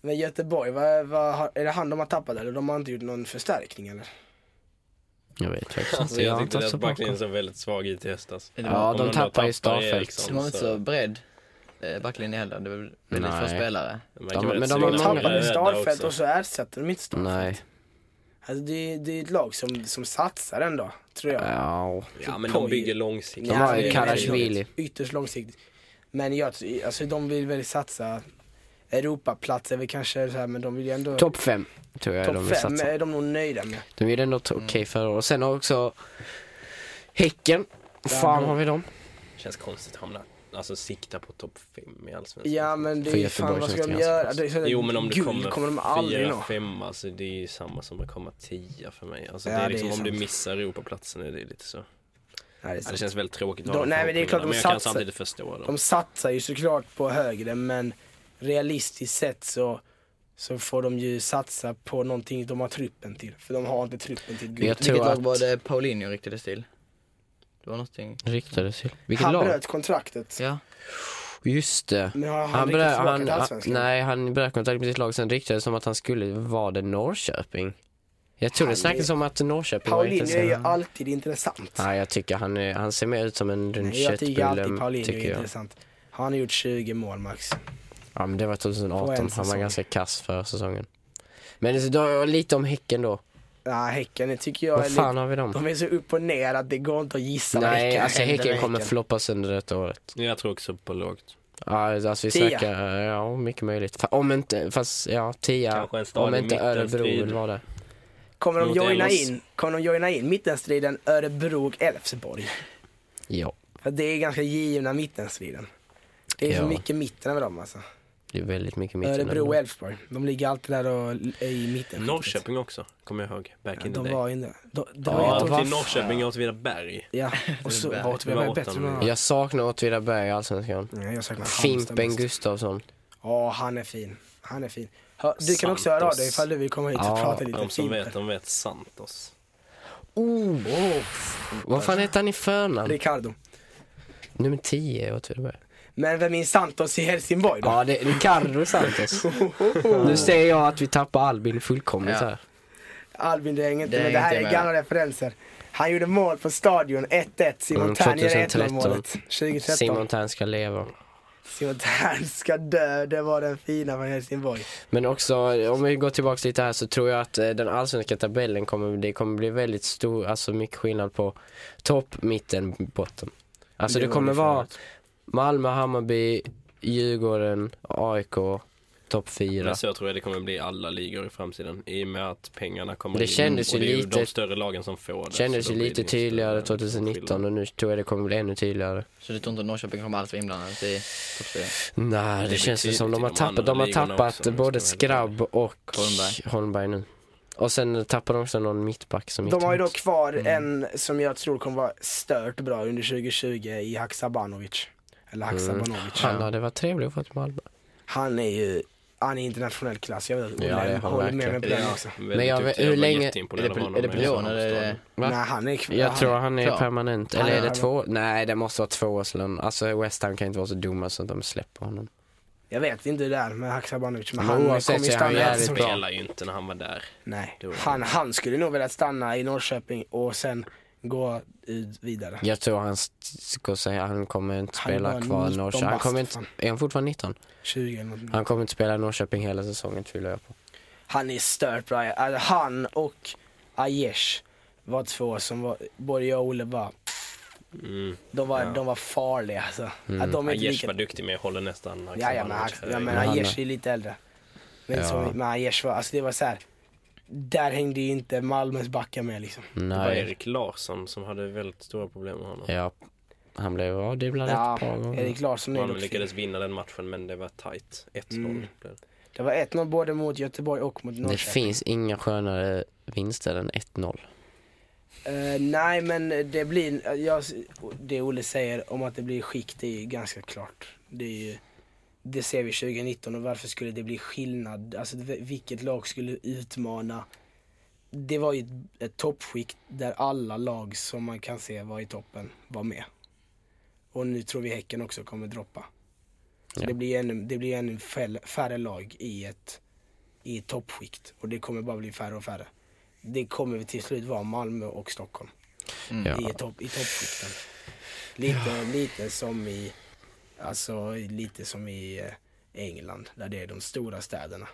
Men Göteborg, vad, vad, har- är det han de har tappat eller? De har inte gjort någon förstärkning eller?
Jag vet faktiskt inte.
Alltså,
Jag har
jag
inte
tyckte
haft
deras
så
backlinjen
bakom.
såg väldigt svag ut i höstas.
Det var-
Ja,
Om
de
då
tappar ju
tappar
Starfelt.
Det
Eriksson.
var inte så bredd eh, backlinjen heller. Det var väl väldigt
Nej.
få spelare.
De verkar
De-
väldigt
men de
De
har
sugna på att
tappade
bli rädda
Starfelt
också.
och så ersätter de inte Starfelt.
Nej.
Alltså det, det är ett lag som, som satsar ändå, tror jag.
Ja.
Ja, men de bygger långsiktigt.
De har ju
det är
Karasjvili.
väldigt- Ytterst långsiktigt. Men jag, alltså de vill väl satsa Europaplats är väl kanske så här, men de vill ju ändå...
Topp fem tror jag de
Topp
vill
fem eh. Mm.
satsa.
är de nog nöjda med.
De gjorde ändå ett okej förra året. Sen har också Häcken. Fan har vi dem?
Känns konstigt att hamna, alltså sikta på topp fem i Allsvenskan.
Ja men det är
För
ju
Göteborg
fan vad ska
känns
de
det
göra?
ganska
Det är så här,
Jo men om du
guld
kommer,
kommer de aldrig nå.
fyra, femma, så det är ju samma som att komma tia för mig. Alltså,
Ja,
det
det
är
är
liksom, om
sant.
du missar Europaplatsen är det lite så.
Nej, det är
Ja,
sant.
det känns väldigt tråkigt att
De-
ha de
nej, men det är klart de
förhoppningarna, men jag kan
satsar-
samtidigt förstå dem.
De satsar ju såklart på högre men realistiskt sett så, så får de ju satsa på någonting de har truppen till. För de har inte truppen till guld.
Jag
Vilket
tror
lag var
att
det Paulinho ryktades till? Det var någonting.
riktades till. Vilket
han
lag?
bröt kontraktet.
Ja.
Just det.
Men har han,
Han, brö-
riktigt tillbaka
han,
till
han,
allsvenskan?
nej, han bröt kontakt med sitt lag. Sen ryktades det som att han skulle vara det Norrköping. Jag tror
Han
det snackades
är-
om att Norrköping var
Paulinho är ju
intresserad.
alltid intressant.
Nej, jag tycker han, är, han ser mer ut som en rund
Nej, jag tycker alltid
köttbulle,
Paulinho
tycker
är
jag.
intressant. Han har gjort 20 mål max.
Ja men det var
På
2018,
en
han var
säsong.
ganska kass förra säsongen. Men så då, lite om Häcken då.
Ja, häcken det tycker jag är
Vad
lite,
fan har vi dem?
De är så upp och ner att det går inte att gissa vad
Nej,
häcken
alltså
händer
Häcken
med
kommer floppa sönder detta året.
Jag tror också på lågt.
Ja, alltså vi
Tia.
snackar, ja mycket möjligt. Fa- Om inte, fast ja, tia.
Kanske en stad
Om
i
inte Örebro
mittenstrid.
vill vara det.
Kommer de
Mot
joina
Elfs.
in, kommer de joina in mittenstriden Örebro och Elfsborg?
Ja.
För det är ganska givna mittenstriden. Det är så
Ja.
mycket mitten över dem alltså.
Det är väldigt mycket mitten.
Örebro och Elfsborg. De ligger alltid där och l- är i mitten.
Norrköping också, kommer jag ihåg. Back
Ja,
in the
de
day.
var inne. De, de, ja,
Ja, jag *laughs*
de,
åkte till Norrköping och Åtvidaberg.
ja, och så
Det
var
var
Åtvidaberg bättre än
åttan.
någon
Jag saknar Åtvidaberg i Allsvenskan.
Nej, jag saknar Halmstad
Fimpen
mest.
Gustafsson.
Ja, han är fin. Han är fin. Hör, du kan
Sant
också höra av
oss.
dig ifall du vill komma hit och
Ja,
prata lite.
De som
Fimpen.
vet, de vet Santos.
Oh. Vad fan heter han i förnamn?
Ricardo.
Nummer 10 i Åtvidaberg.
Men vem är Santos i Helsingborg då?
Ja, det är Ricardo Santos. *laughs* nu ser jag att vi tappar Albin fullkomligt
Ja.
här.
Albin, det är inget,
Det är
men det här
inget
är
med.
gamla referenser. Han gjorde mål på Stadion 1-1. Simon
Mm,
Tern gör 1-0
2013.
målet. 2013.
Simon
Simon,
Tern ska leva.
Tern ska dö. Det var den fina från Helsingborg.
Men också, om vi går tillbaka lite här så tror jag att eh, den allsvenska tabellen kommer, det kommer bli väldigt stor, alltså mycket skillnad på topp, mitten, botten. Alltså det,
var
kommer
det
vara
förut.
Malmö, Hammarby, Djurgården, AIK, topp fyra.
Men så tror jag det kommer bli alla ligor i framtiden. I och med att pengarna kommer
Det
in.
kändes ju
och det är
lite-
de större lagen som får det.
Kändes
så
ju
då blir
lite
det ju
tydligare
större
2019
skillnad.
och nu tror jag det kommer bli ännu tydligare.
Så du tror inte Norrköping kommer alls vara inblandade i toppstriden?
Nej, det,
blir
känns ju
tydligt
som
i
de har
de
tappat,
andra
de har
ligorna
tappat
också, om jag
både
ska vara helt
Skrabb och Holmberg.
Holmberg.
nu. Och sen tappar de också någon mittback som
De har ju
inte-
då kvar
Mm.
en som jag tror kommer vara stört bra under 2020 i Haksabanovic. Eller Haksabanovic.
Mm. Han hade varit trevlig att få till Malmö.
Han är ju, han är internationell klass. Jag vet,
Ja, det är
håller,
han
håller med
verkligen.
mig på den också.
Väldigt
Men jag vet-
duktig.
hur
var
länge-
jätteimponerad
är det Pl-
av honom
är det
i
Pilion eller är
Santos.
det-
Va?
Nej, han är kvar.
Jag
Han-
tror han är
klar.
permanent.
Han
Eller
är
är det
här,
två? Nej, det måste vara tvåårslön. Alltså West Ham kan inte vara så dumma så att de släpper honom.
Jag vet inte hur det är med Haksabanovic men
Men
han kommer ju
oavsett så är han
stanna
jävligt
som-
Han spelade Alltså, ju inte när han var där.
Nej,
Det var-
han, han skulle nog vilja stanna i Norrköping och sen gå ut vidare.
Jag tror han st- ska säga han kommer inte
Han är
spela
bara
kvar
19
Norrköping. Han
bast,
kommer inte,
fan. Mm.
är han fortfarande 19?
20 eller något.
Han kommer inte spela i Norrköping hela säsongen tvivlar jag på.
Han är stört bra. Alltså, han och Aiesh var två som var, både jag och Olle var,
Mm.
de var,
Ja.
de var farliga alltså. Att de är inte
Aiesh
lika...
var duktig med att hålla nästan
Ja, ja, men, Haks- ja, men
Men han-
Aiesh är lite äldre. Men,
Ja.
så, men Aiesh var, alltså det var så här. där hängde ju inte Malmös backar med liksom.
Det var
Nej.
Erik Larsson som hade väldigt stora problem med honom.
Ja, han blev avdribblad ett par
Ja,
gånger.
Erik Larsson är
Malmö
dock fin.
lyckades vinna den matchen men det var tight. 1-0
Mm.
blev det.
Det var 1-0 både mot Göteborg och mot Norrköping.
Det finns inga skönare vinster än 1-0.
Eh, nej, men det blir... Jag, det Olle säger om att det blir skikt det är ju ganska klart. Det, är ju, det ser vi 2019 och varför skulle det bli skillnad? Alltså v- vilket lag skulle utmana? Det var ju ett, ett toppskikt där alla lag som man kan se var i toppen var med. Och nu tror vi Häcken också kommer droppa. Så
Ja.
det blir ännu, det blir ännu fäll- färre lag i ett, i ett toppskikt och det kommer bara bli färre och färre. Det kommer till slut vara Malmö och Stockholm
Mm. Ja.
i, topp, i toppskikten. Lite, lite som i, alltså lite som i eh, England där det är de stora städerna.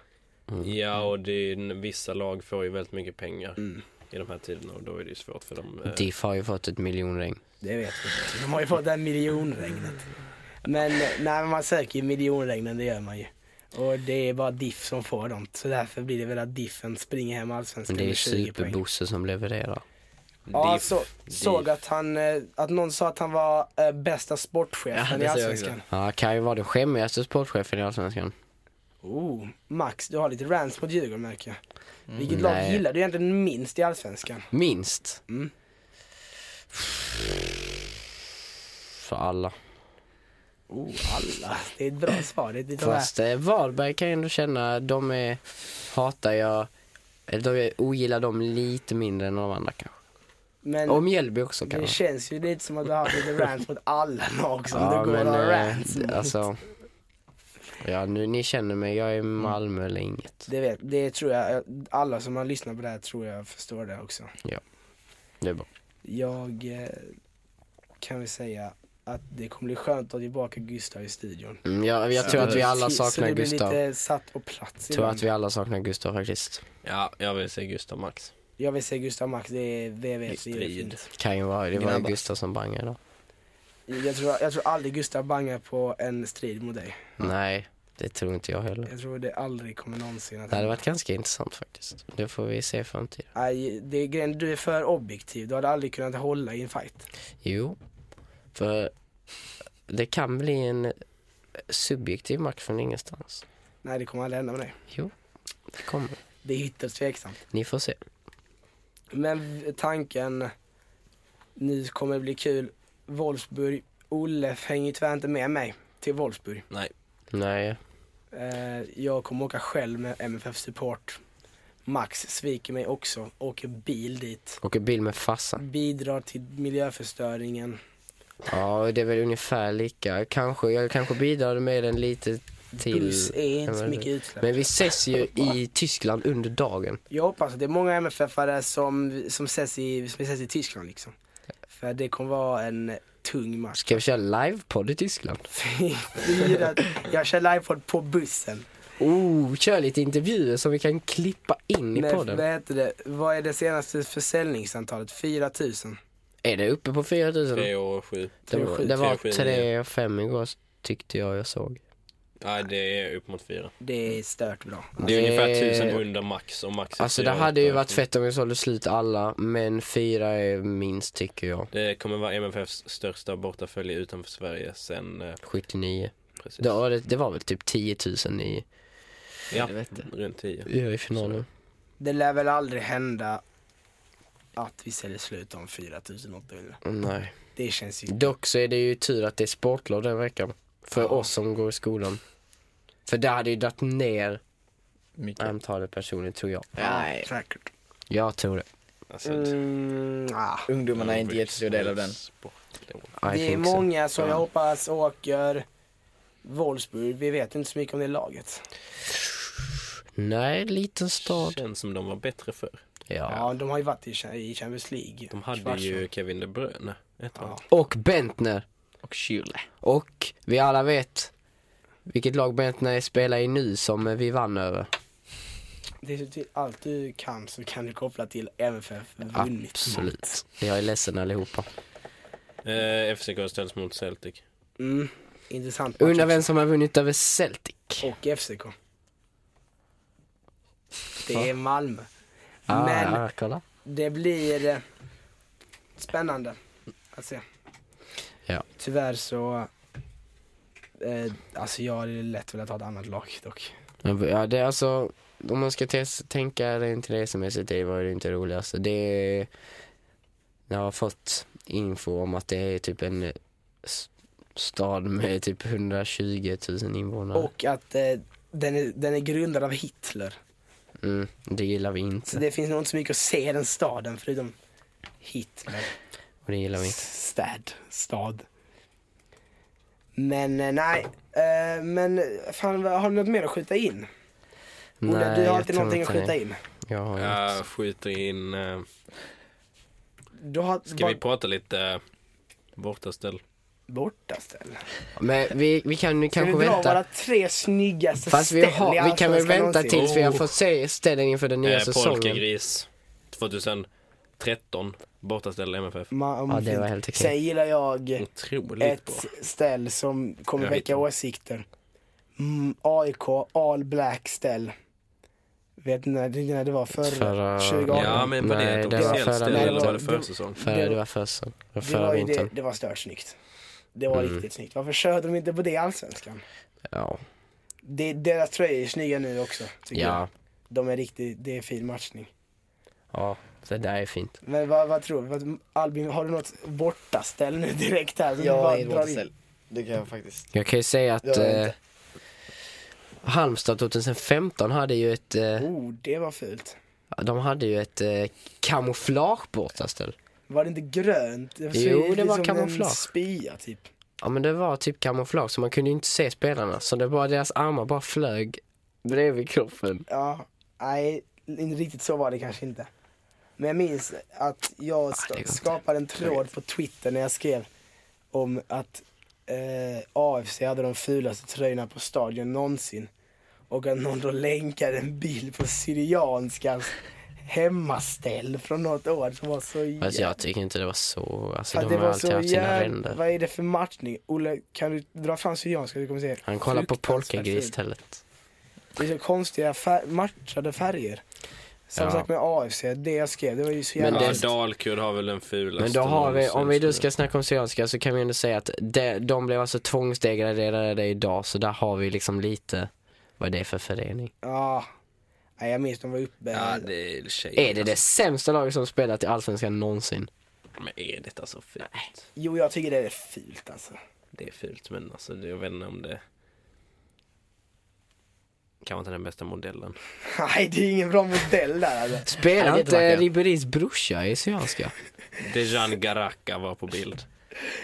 Mm.
Ja och det är, n- vissa lag får ju väldigt mycket pengar
Mm.
i de här tiderna och då är det ju svårt för dem. eh,
DIF har ju fått ett miljonring.
Det vet vi. De har ju fått det här miljonregnet. Men eh, nej, men man söker ju miljonregnen, det gör man ju. Och det är bara Diff som får dem. Så därför blir det väl att Diffen springer hem allsvenskan
Men det är ju
med 20 poäng.
Superbosse som levererar.
Ja,
Diff,
så, såg att han, eh, att någon sa att han var eh, bästa sportchefen
Ja,
i
det såg jag
Allsvenskan.
Ja, kan ju vara den skämmigaste sportchefen i Allsvenskan.
Oh, Max, du har lite rants mot Djurgården märker jag. Vilket lag
Mm. Nej.
gillar du egentligen minst i Allsvenskan?
Minst.
Mm.
För alla.
Oh, alla. *laughs* Det är ett bra svar. Det är lite
Fast eh, Varberg kan jag ändå känna, de är, hatar jag, eller de ogillar dem lite mindre än de andra kanske.
men
Och Mjällby också
det
kanske.
känns ju lite som att du har haft lite rants mot alla lag som
*laughs* Ja,
du går
men,
och har
eh,
rants
det-
mot.
alltså, ja nu, ni känner mig, jag är Malmö eller inget.
Mm. Det, vet, det tror jag, alla som har lyssnat på det här tror jag förstår det också.
Det är bra.
Jag eh, kan väl säga att det kommer bli skönt att ha tillbaka Gustav i studion.
Mm, jag, jag tror att vi alla
Så
saknar
det blir
Gustav.
lite satt på plats
tror
ibland.
att vi alla saknar Gustav faktiskt.
Ja, jag vill se Gustav Max.
Jag vill säga Gustav Max, det är
I
VVS. det är
strid.
fint.
Kan ju vara, det var ju
Grabbar.
Gustav som bangade idag.
Jag tror, jag tror aldrig Gustav bangar på en strid mot dig.
Nej, det tror inte jag heller.
Jag tror det aldrig kommer någonsin att
Det hade varit ganska intressant faktiskt. Det får vi se i framtiden.
Nej, det är grejen, du är för objektiv. Du hade aldrig kunnat hålla i en fight.
Jo, för det kan bli en subjektiv makt från ingenstans.
Nej, det kommer aldrig hända med dig.
Jo, det kommer.
Det är ytterst tveksamt.
Ni får se.
Men tanken, nu kommer det bli kul. Wolfsburg, Olle hänger ju tyvärr inte med mig till Wolfsburg.
Nej.
Nej,
Eh, jag kommer åka själv med MFF Support. Max sviker mig också, åker bil dit.
åker bil med farsan.
Bidrar till miljöförstöringen.
Ja, det är väl ungefär lika. Kanske, jag kanske bidrar med den lite till.
Buss är inte så
men-
mycket utsläpp.
Men vi ses ju i Tyskland under dagen.
Jag hoppas att det är många MFF-are som, som, ses i, som ses i Tyskland liksom. För det kommer vara en tung match.
Ska vi köra livepodd i Tyskland?
Fyra- *laughs* jag kör livepodd på bussen.
Oh, kör lite intervjuer som vi kan klippa in i
Nej,
podden.
vad heter det? Vad är det senaste försäljningsantalet? 4000?
Är det uppe på 4000?
Tre och sju.
Det var,
sju,
det var
tre, sju,
3 och 5 igår tyckte jag jag såg.
Nej, det är upp mot fyra.
Det är stört bra.
Det är
Alltså, Det-
ungefär tusen under max och max är
Alltså det
fyra,
hade ju
åtta.
varit fett om vi sålde slut alla, men fyra är minst tycker jag.
Det kommer vara MFFs största bortafölje utanför Sverige sen eh,
79.
precis.
Ja, det, det var väl typ 10 000 i,
Ja,
Helvete.
runt tio.
ja, i finalen.
Det lär väl aldrig hända att vi säljer slut om 4800.
Nej.
Det känns ju...
Dock så är det ju tur att det är sportlov den veckan. För
Ja.
oss som går i skolan. För det hade ju dragit ner
Mycket.
antalet personer tror jag.
Nej.
Säkert.
Jag tror det.
Alltså,
Mm, ah.
Ungdomarna är inte jättestor del av den.
Sportlov.
I
Det är
think so.
många som jag hoppas åker Wolfsburg. Vi vet inte så mycket om det laget.
Nej, liten stad.
Känns som de var bättre förr.
Ja,
Ja.
de har ju varit i Cha- i Champions League.
De hade
Kvarts-
ju Kevin De Bruyne. Ett
Ja.
ja.
Och Bentner.
Och Schürrle.
Och vi alla vet vilket lag Bentner spelar i nu som eh, vi vann över.
Det är till allt du kan så kan du koppla till MFF vunnit.
Absolut. Jag är ledsen allihopa.
eh, FCK ställs mot Celtic.
Mm, intressant. match
Undrar
också.
vem som har vunnit över Celtic.
Och FCK. Det är Malmö.
Ah,
Men-
ja, kolla.
Det blir eh, spännande att se.
Ja.
Tyvärr så... Eh, alltså jag hade lätt velat ha ett annat lag dock.
Ja, det är alltså, om man ska tes- tänka rent resemässigt, det var ju inte det roligaste. Det är, jag har fått info om att det är typ en eh, s- stad med typ 120 000 invånare.
Och att eh, den, är, den är grundad av Hitler.
Mm, det gillar vi
Så
inte.
det finns nog inte så mycket att se i den staden förutom Hitler.
Och det gillar vi inte.
Stad. Stad. Men eh, nej. Eh, men fan, vad- har du något mer att skjuta in? Ola, du har
jag
alltid
tror
någonting att
inte det.
skjuta in.
Jag har inget.
Jag skjuter in... Eh,
Du har
ska vi prata lite eh, bortaställ?
borta ställ.
Men vi, vi kan ju
Ska vi
kanske
dra våra
vänta.
tre snyggaste
Fast vi,
ställ i
har, vi kan väl
Allsvenskan
vänta
någonsin?
tills vi har
Oh.
fått se ställen inför den nya
Eh,
säsongen.
Polkagris 2013. Bortaställ MFF.
Ma- om
Ja, det
fint.
var helt okej.
Sen gillar jag
Otroligt bra.
ett ställ som kommer
Jag
väcka
vet.
åsikter. Mm, AIK, All Black ställ. Vet ni när, det- när det var förra?
Förra-
2018.
Ja men var det
Nej,
ett
det
var
officiellt
förra-
ställe
Nej,
eller
det
var
var-
det försäsong?
För
Det-
det var första,
Det var,
förra
ju det,
vintern. Mm.
det var stört snyggt. Det var riktigt snyggt. Varför körde de inte på det i Allsvenskan?
Ja.
Det, deras tröjor är snygga nu också. Tycker
ja.
jag. De är riktigt, det är fin matchning.
Ja, det där är fint.
Men vad, vad tror du? Vad, Albin, har du något bortaställ nu direkt här? som du bara
Jag är
drar in?
bortaställ. Det kan jag faktiskt.
Jag kan ju säga
Jag
att
vet
eh,
inte.
Halmstad 2015 hade ju ett, eh,
Oh, det var fult.
de hade ju ett eh, kamouflage bortaställ.
Var det inte grönt? Det
Jo,
ut
det var
som en
kamouflage.
spya typ.
Ja men det var typ kamouflage så man kunde ju inte se spelarna så det var deras armar bara flög bredvid kroppen.
Ja, nej, inte riktigt så var det kanske inte. Men jag minns att jag
Ah, det går
sk-
inte.
skapade en tråd på Twitter när jag skrev om att eh, AFC hade de fulaste tröjorna på stadion någonsin. Och att någon då länkade en bild på
*laughs*
Syrianskans hemmaställ från något år som var så jävla...
Alltså jag tycker inte det var så, alltså
Att
de
det
har
var
alltid
så
haft sina
jävla...
ränder.
Vad är det för matchning? Olle, kan du dra fram Syrianska? Du kommer se.
Han kollar på
Fruktansvärt
polkagris
fint.
istället.
Det är så konstiga fär- matchade färger. Samma
Ja.
sak med AFC, det jag skrev, det var ju så
Men
jävla...
ja,
det-
Dalkurd har väl den fulaste.
Men då har vi, om vi nu
någonsin,
ska snacka om Syrianska så kan vi ändå säga att de, de blev alltså tvångsdegraderade idag så där har vi liksom lite vad det är för förening.
Ja. Nej, jag minns de var uppe.
Ja, det är tjejer. alltså.
Är det det
alltså.
sämsta laget som spelat i Allsvenskan någonsin?
Men är det alltså fult?
Jo, jag tycker det är fult alltså. *laughs*
Det är fult, men alltså det- jag vet inte om det... Kanske inte den bästa modellen.
Nej, det är ingen bra modell där alltså.
Spelar
det är
inte
jättevackert.
Ribéris brorsa i Syrianska?
Dejan Garaka var på bild.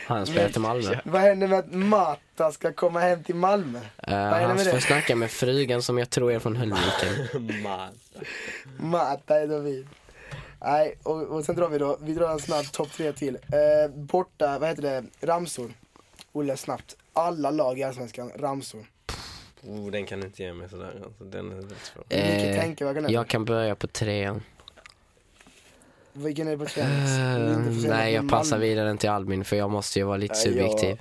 Han spelar till Malmö.
Vad händer med att Mata ska komma hem till Malmö?
Eh,
är det
han
med
får
det?
snacka med frugan som jag tror är från Höllviken.
Man.
Mata är då vi. Nej, och, och sen drar vi då, vi drar en snabb topp tre till. Eh, borta, vad heter det, ramsor. Olle, snabbt. Alla lag i Allsvenskan, ramsor.
Oh, den kan du inte ge mig sådär. Alltså, den är väldigt svår.
Vilket
Eh,
tänker jag,
jag kan börja på trean.
Vilken är det på
Eh,
träning?
nej, jag passar vidare till Albin för jag måste ju vara lite
Nej,
subjektiv.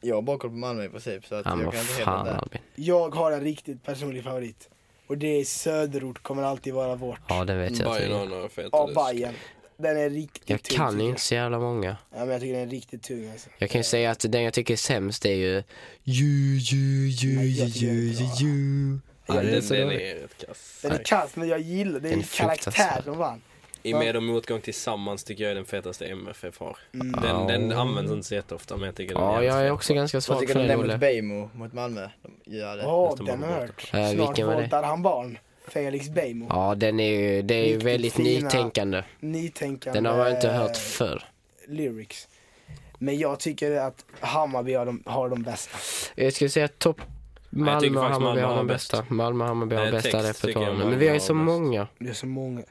Jag har bara koll på Malmö i princip så att
Han
jag
var
kan inte hela
fan
det där.
Albin.
Jag har en riktigt personlig favorit. Och det är Söderort, kommer alltid vara vårt.
Ja, det vet jag. att
Bajen
det är.
har några feta
Av
disk.
Bajen. Den är riktigt
Jag
tung,
kan
tycker
ju
jag.
inte så jävla många.
Ja, men jag tycker den är riktigt tung alltså.
Jag kan ju säga att den jag tycker är sämst är ju ju, ju, ju,
Nej, jag
ju,
tycker
ju,
den är bra.
ju. Ja,
Den,
det är så
den
dålig.
är rätt kass.
Den är kass, men jag gillar det. är
Den är
ju karaktär
fruktansvärd.
som vann.
I Med och motgång tillsammans tycker jag är den fetaste MFF har.
Mm.
Den,
Ja.
den används inte så jätteofta men jag tycker
Ja,
den
jag är
jävligt
också
fet.
ganska
Vad
svag
tycker
för
du om
den,
den mot
Olle.
Bejmo mot Malmö? De gör det.
Åh,
Nästan
den har
bara
jag
borta.
hört.
Eh,
Snart
vilken var det?
voltar han barn. Felix Beijmo.
Ja, den är ju, det är ju
Riktigt
väldigt
fina.
nytänkande.
Nytänkande.
Den har man inte
eh,
hört förr.
Lyrics. Men jag tycker att Hammarby har de, har de bästa.
Jag skulle säga att topp
jag tycker
Malmö och
faktiskt
Hammarby
Malmö
har
har
de
bäst.
bästa. Malmö och Hammarby har de
Nej,
bästa
text tycker jag
repertoaren. Men
Malmö
vi har ju
har
så
bäst.
många.
Det är så många. Eh,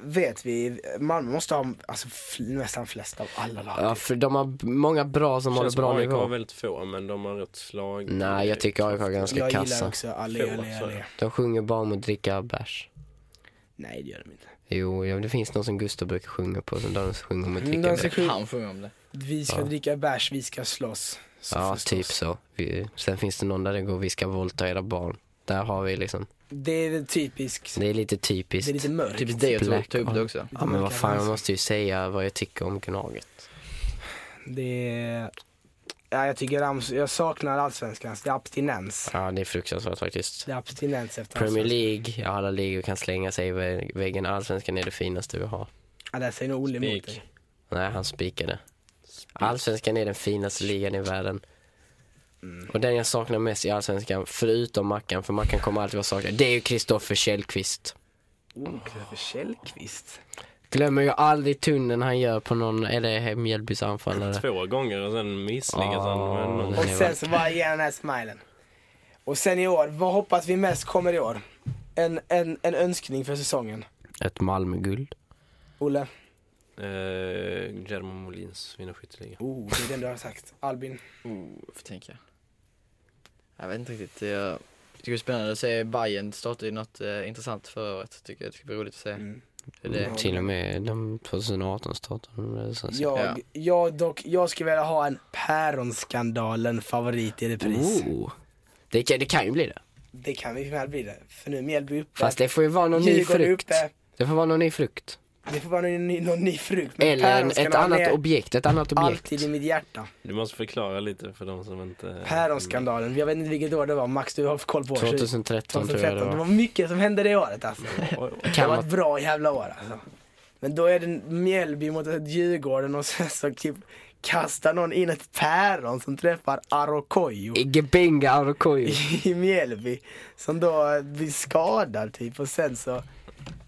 Vet vi, Malmö måste ha alltså, f- nästan flest av alla lag.
Ja, för de har b- många bra som håller
Känns som
bra
AIK har
nivå.
väldigt få men de har rätt slag.
Nej, jag tycker AIK är ganska
jag gillar
kassa.
också Allé, Allé,
Få,
Allé.
De sjunger bara om att dricka bärs.
Nej, det gör de inte.
Jo, ja, det finns någon som Gustav brukar sjunga på, som de sjunger om att
Mm,
dricka
de
bärs.
ska sjunga-
Han sjunger om det.
Vi ska
Ja.
dricka bärs, vi ska slåss. Så
Ja,
förstås.
typ så. Vi, sen finns det någon där det går vi ska våldta era barn. Där har vi liksom,
Det är typiskt.
det är lite typiskt.
Det är lite mörkt.
Typiskt dig att ta-
Black
ta upp
on.
det också.
Ja men vad fan, jag måste ju säga vad jag tycker om Gnaget.
Det är... Ja, jag tycker Rams... Jag saknar allsvenskans. Det är abstinens.
Ja det är fruktansvärt faktiskt.
Det är abstinens efter
Premier
allsvenskan.
League, ja, alla ligor kan slänga sig i vä- väggen. Allsvenskan är det finaste vi har.
Ja, där säger nog Olle emot
Spik.
dig.
Nej, han spikade. Allsvenskan är den finaste ligan i världen.
Mm.
Och den jag saknar mest i Allsvenskan, förutom Mackan, för Mackan kommer alltid vara saknad, det är ju Kristoffer Källqvist.
Oh, Kristoffer Källqvist.
Glömmer ju aldrig tunnen han gör på någon, eller Mjällbys anfallare.
Två gånger och sen misslyckas han.
Ah,
med någon.
nej.
Och
det
sen
var-
så bara ger han den här smilen. Och sen i år, vad hoppas vi mest kommer i år? En, en, en önskning för säsongen.
Ett Malmöguld.
Olle?
Eh, Jermo Molins vinner skytteligan.
Oh, det är den du har sagt. Albin?
Oh, får tänka. Jag vet inte riktigt. Jag tycker det är spännande att se Bayern startade ju något eh, intressant förra året. Tycker jag det ska bli roligt att se.
Mm.
Det är det.
Till och med de 2018 startade de det. så att säga.
Jag, jag, dock, jag skulle vilja ha en Päronskandalen favorit i repris.
Oh. Det, kan, det kan ju bli det.
Det kan vi väl bli det. För nu är Mjällby uppe.
Fast det får ju vara någon ny
Djurgården är
frukt.
uppe.
Det får vara någon ny frukt.
Det får vara någon ny, någon ny frukt. Men
Eller en,
päronskandalen
ett annat
är
objekt, ett annat objekt.
Alltid i mitt hjärta.
Du måste förklara lite för de som inte...
Päronskandalen. Jag vet inte vilket år det var. Max, du har koll på år.
2013 tror jag det
2013. Det
var.
var mycket som hände det året
*laughs*
alltså.
Oj, oj.
Det
Kan
var ett
vara,
bra jävla år alltså. Men då är det Mjällby mot Djurgården och sen så typ kastar någon in ett päron som träffar Arokoyo
Gebinga Arokoyo.
*laughs* i Mjällby. Som då blir skadad typ och sen så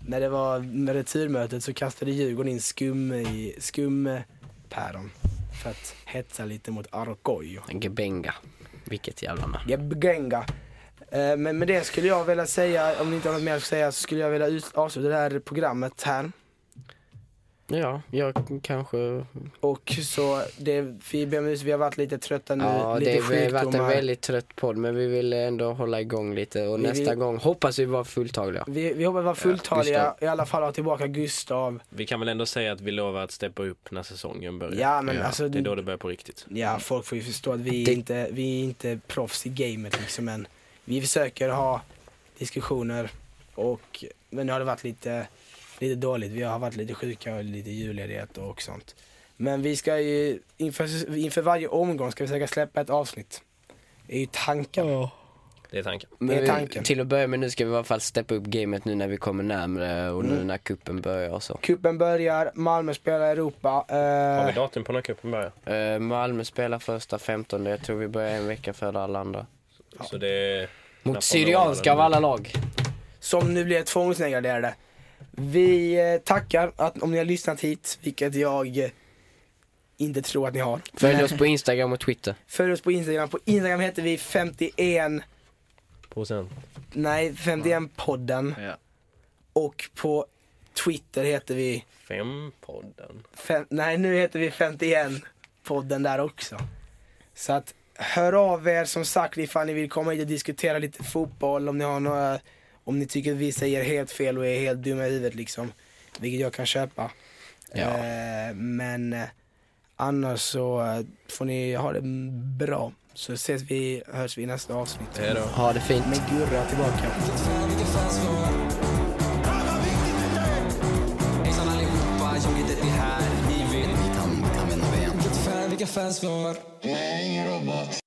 när det var med returmötet så kastade Djurgården in skum i skumpäron. För att hetsa lite mot Arokoyo.
Gebenga. Vilket jävla namn.
Gebgenga. Eh, Men med det skulle jag vilja säga, om ni inte har något mer att säga, så skulle jag vilja ut- avsluta det här programmet här.
Ja, jag kanske...
Och så, det, vi ber om ursäkt, vi har varit lite trötta nu,
Ja,
lite
det har varit en
sjukdomar.
väldigt trött podd men vi vill ändå hålla igång lite och
Vi
nästa
vill-
gång hoppas vi vara fulltaliga.
Vi, vi hoppas vara fulltaliga,
Gustav.
i alla fall ha tillbaka Gustav.
Vi kan väl ändå säga att vi lovar att steppa upp när säsongen börjar.
Ja, men alltså-
Det är då det börjar på riktigt.
Ja, folk får ju förstå att vi,
Det-
är inte, vi är inte proffs i gamet liksom än. Vi försöker ha diskussioner och Men nu har det varit lite, lite dåligt. Vi har varit lite sjuka och lite julledighet och sånt. Men vi ska ju, inför, inför varje omgång ska vi försöka släppa ett avsnitt. Det är ju tanken.
Det är tanken.
Det är
vi-
tanken.
Till att börja med nu ska vi i alla fall steppa upp gamet nu när vi kommer närmre och
Mm.
nu när kuppen börjar och så.
Kuppen börjar, Malmö spelar i Europa. Eh,
Har vi datum på när cupen börjar?
Eh, Malmö spelar första 15, jag tror vi börjar en vecka före alla andra.
Så det är...
Mot Syrianska av alla lag.
som nu blir tvångsnegraderade. Vi eh, tackar att, om ni har lyssnat hit, vilket jag eh, inte tror att ni har.
Följ oss på Instagram och Twitter.
Följ oss på Instagram. På Instagram heter vi 51,
Procent.
nej 51podden.
Ja.
Och på Twitter heter vi,
Fem podden.
fem, nej nu heter vi 51podden där också. Så att hör av er som sagt ifall ni vill komma hit och diskutera lite fotboll om ni har några, om ni tycker att vi säger helt fel och är helt dumma i huvudet liksom. Vilket jag kan köpa.
Ja.
Eh, men eh, annars så eh, får ni ha det bra. Så ses vi, hörs vi i nästa avsnitt.
Hej då.
Ha det fint.
Med Gurra tillbaka.
Hejsan allihopa, Joggitett är här. Ni vet mitt namn, kan vända Vilket fan, vilka fans vi har.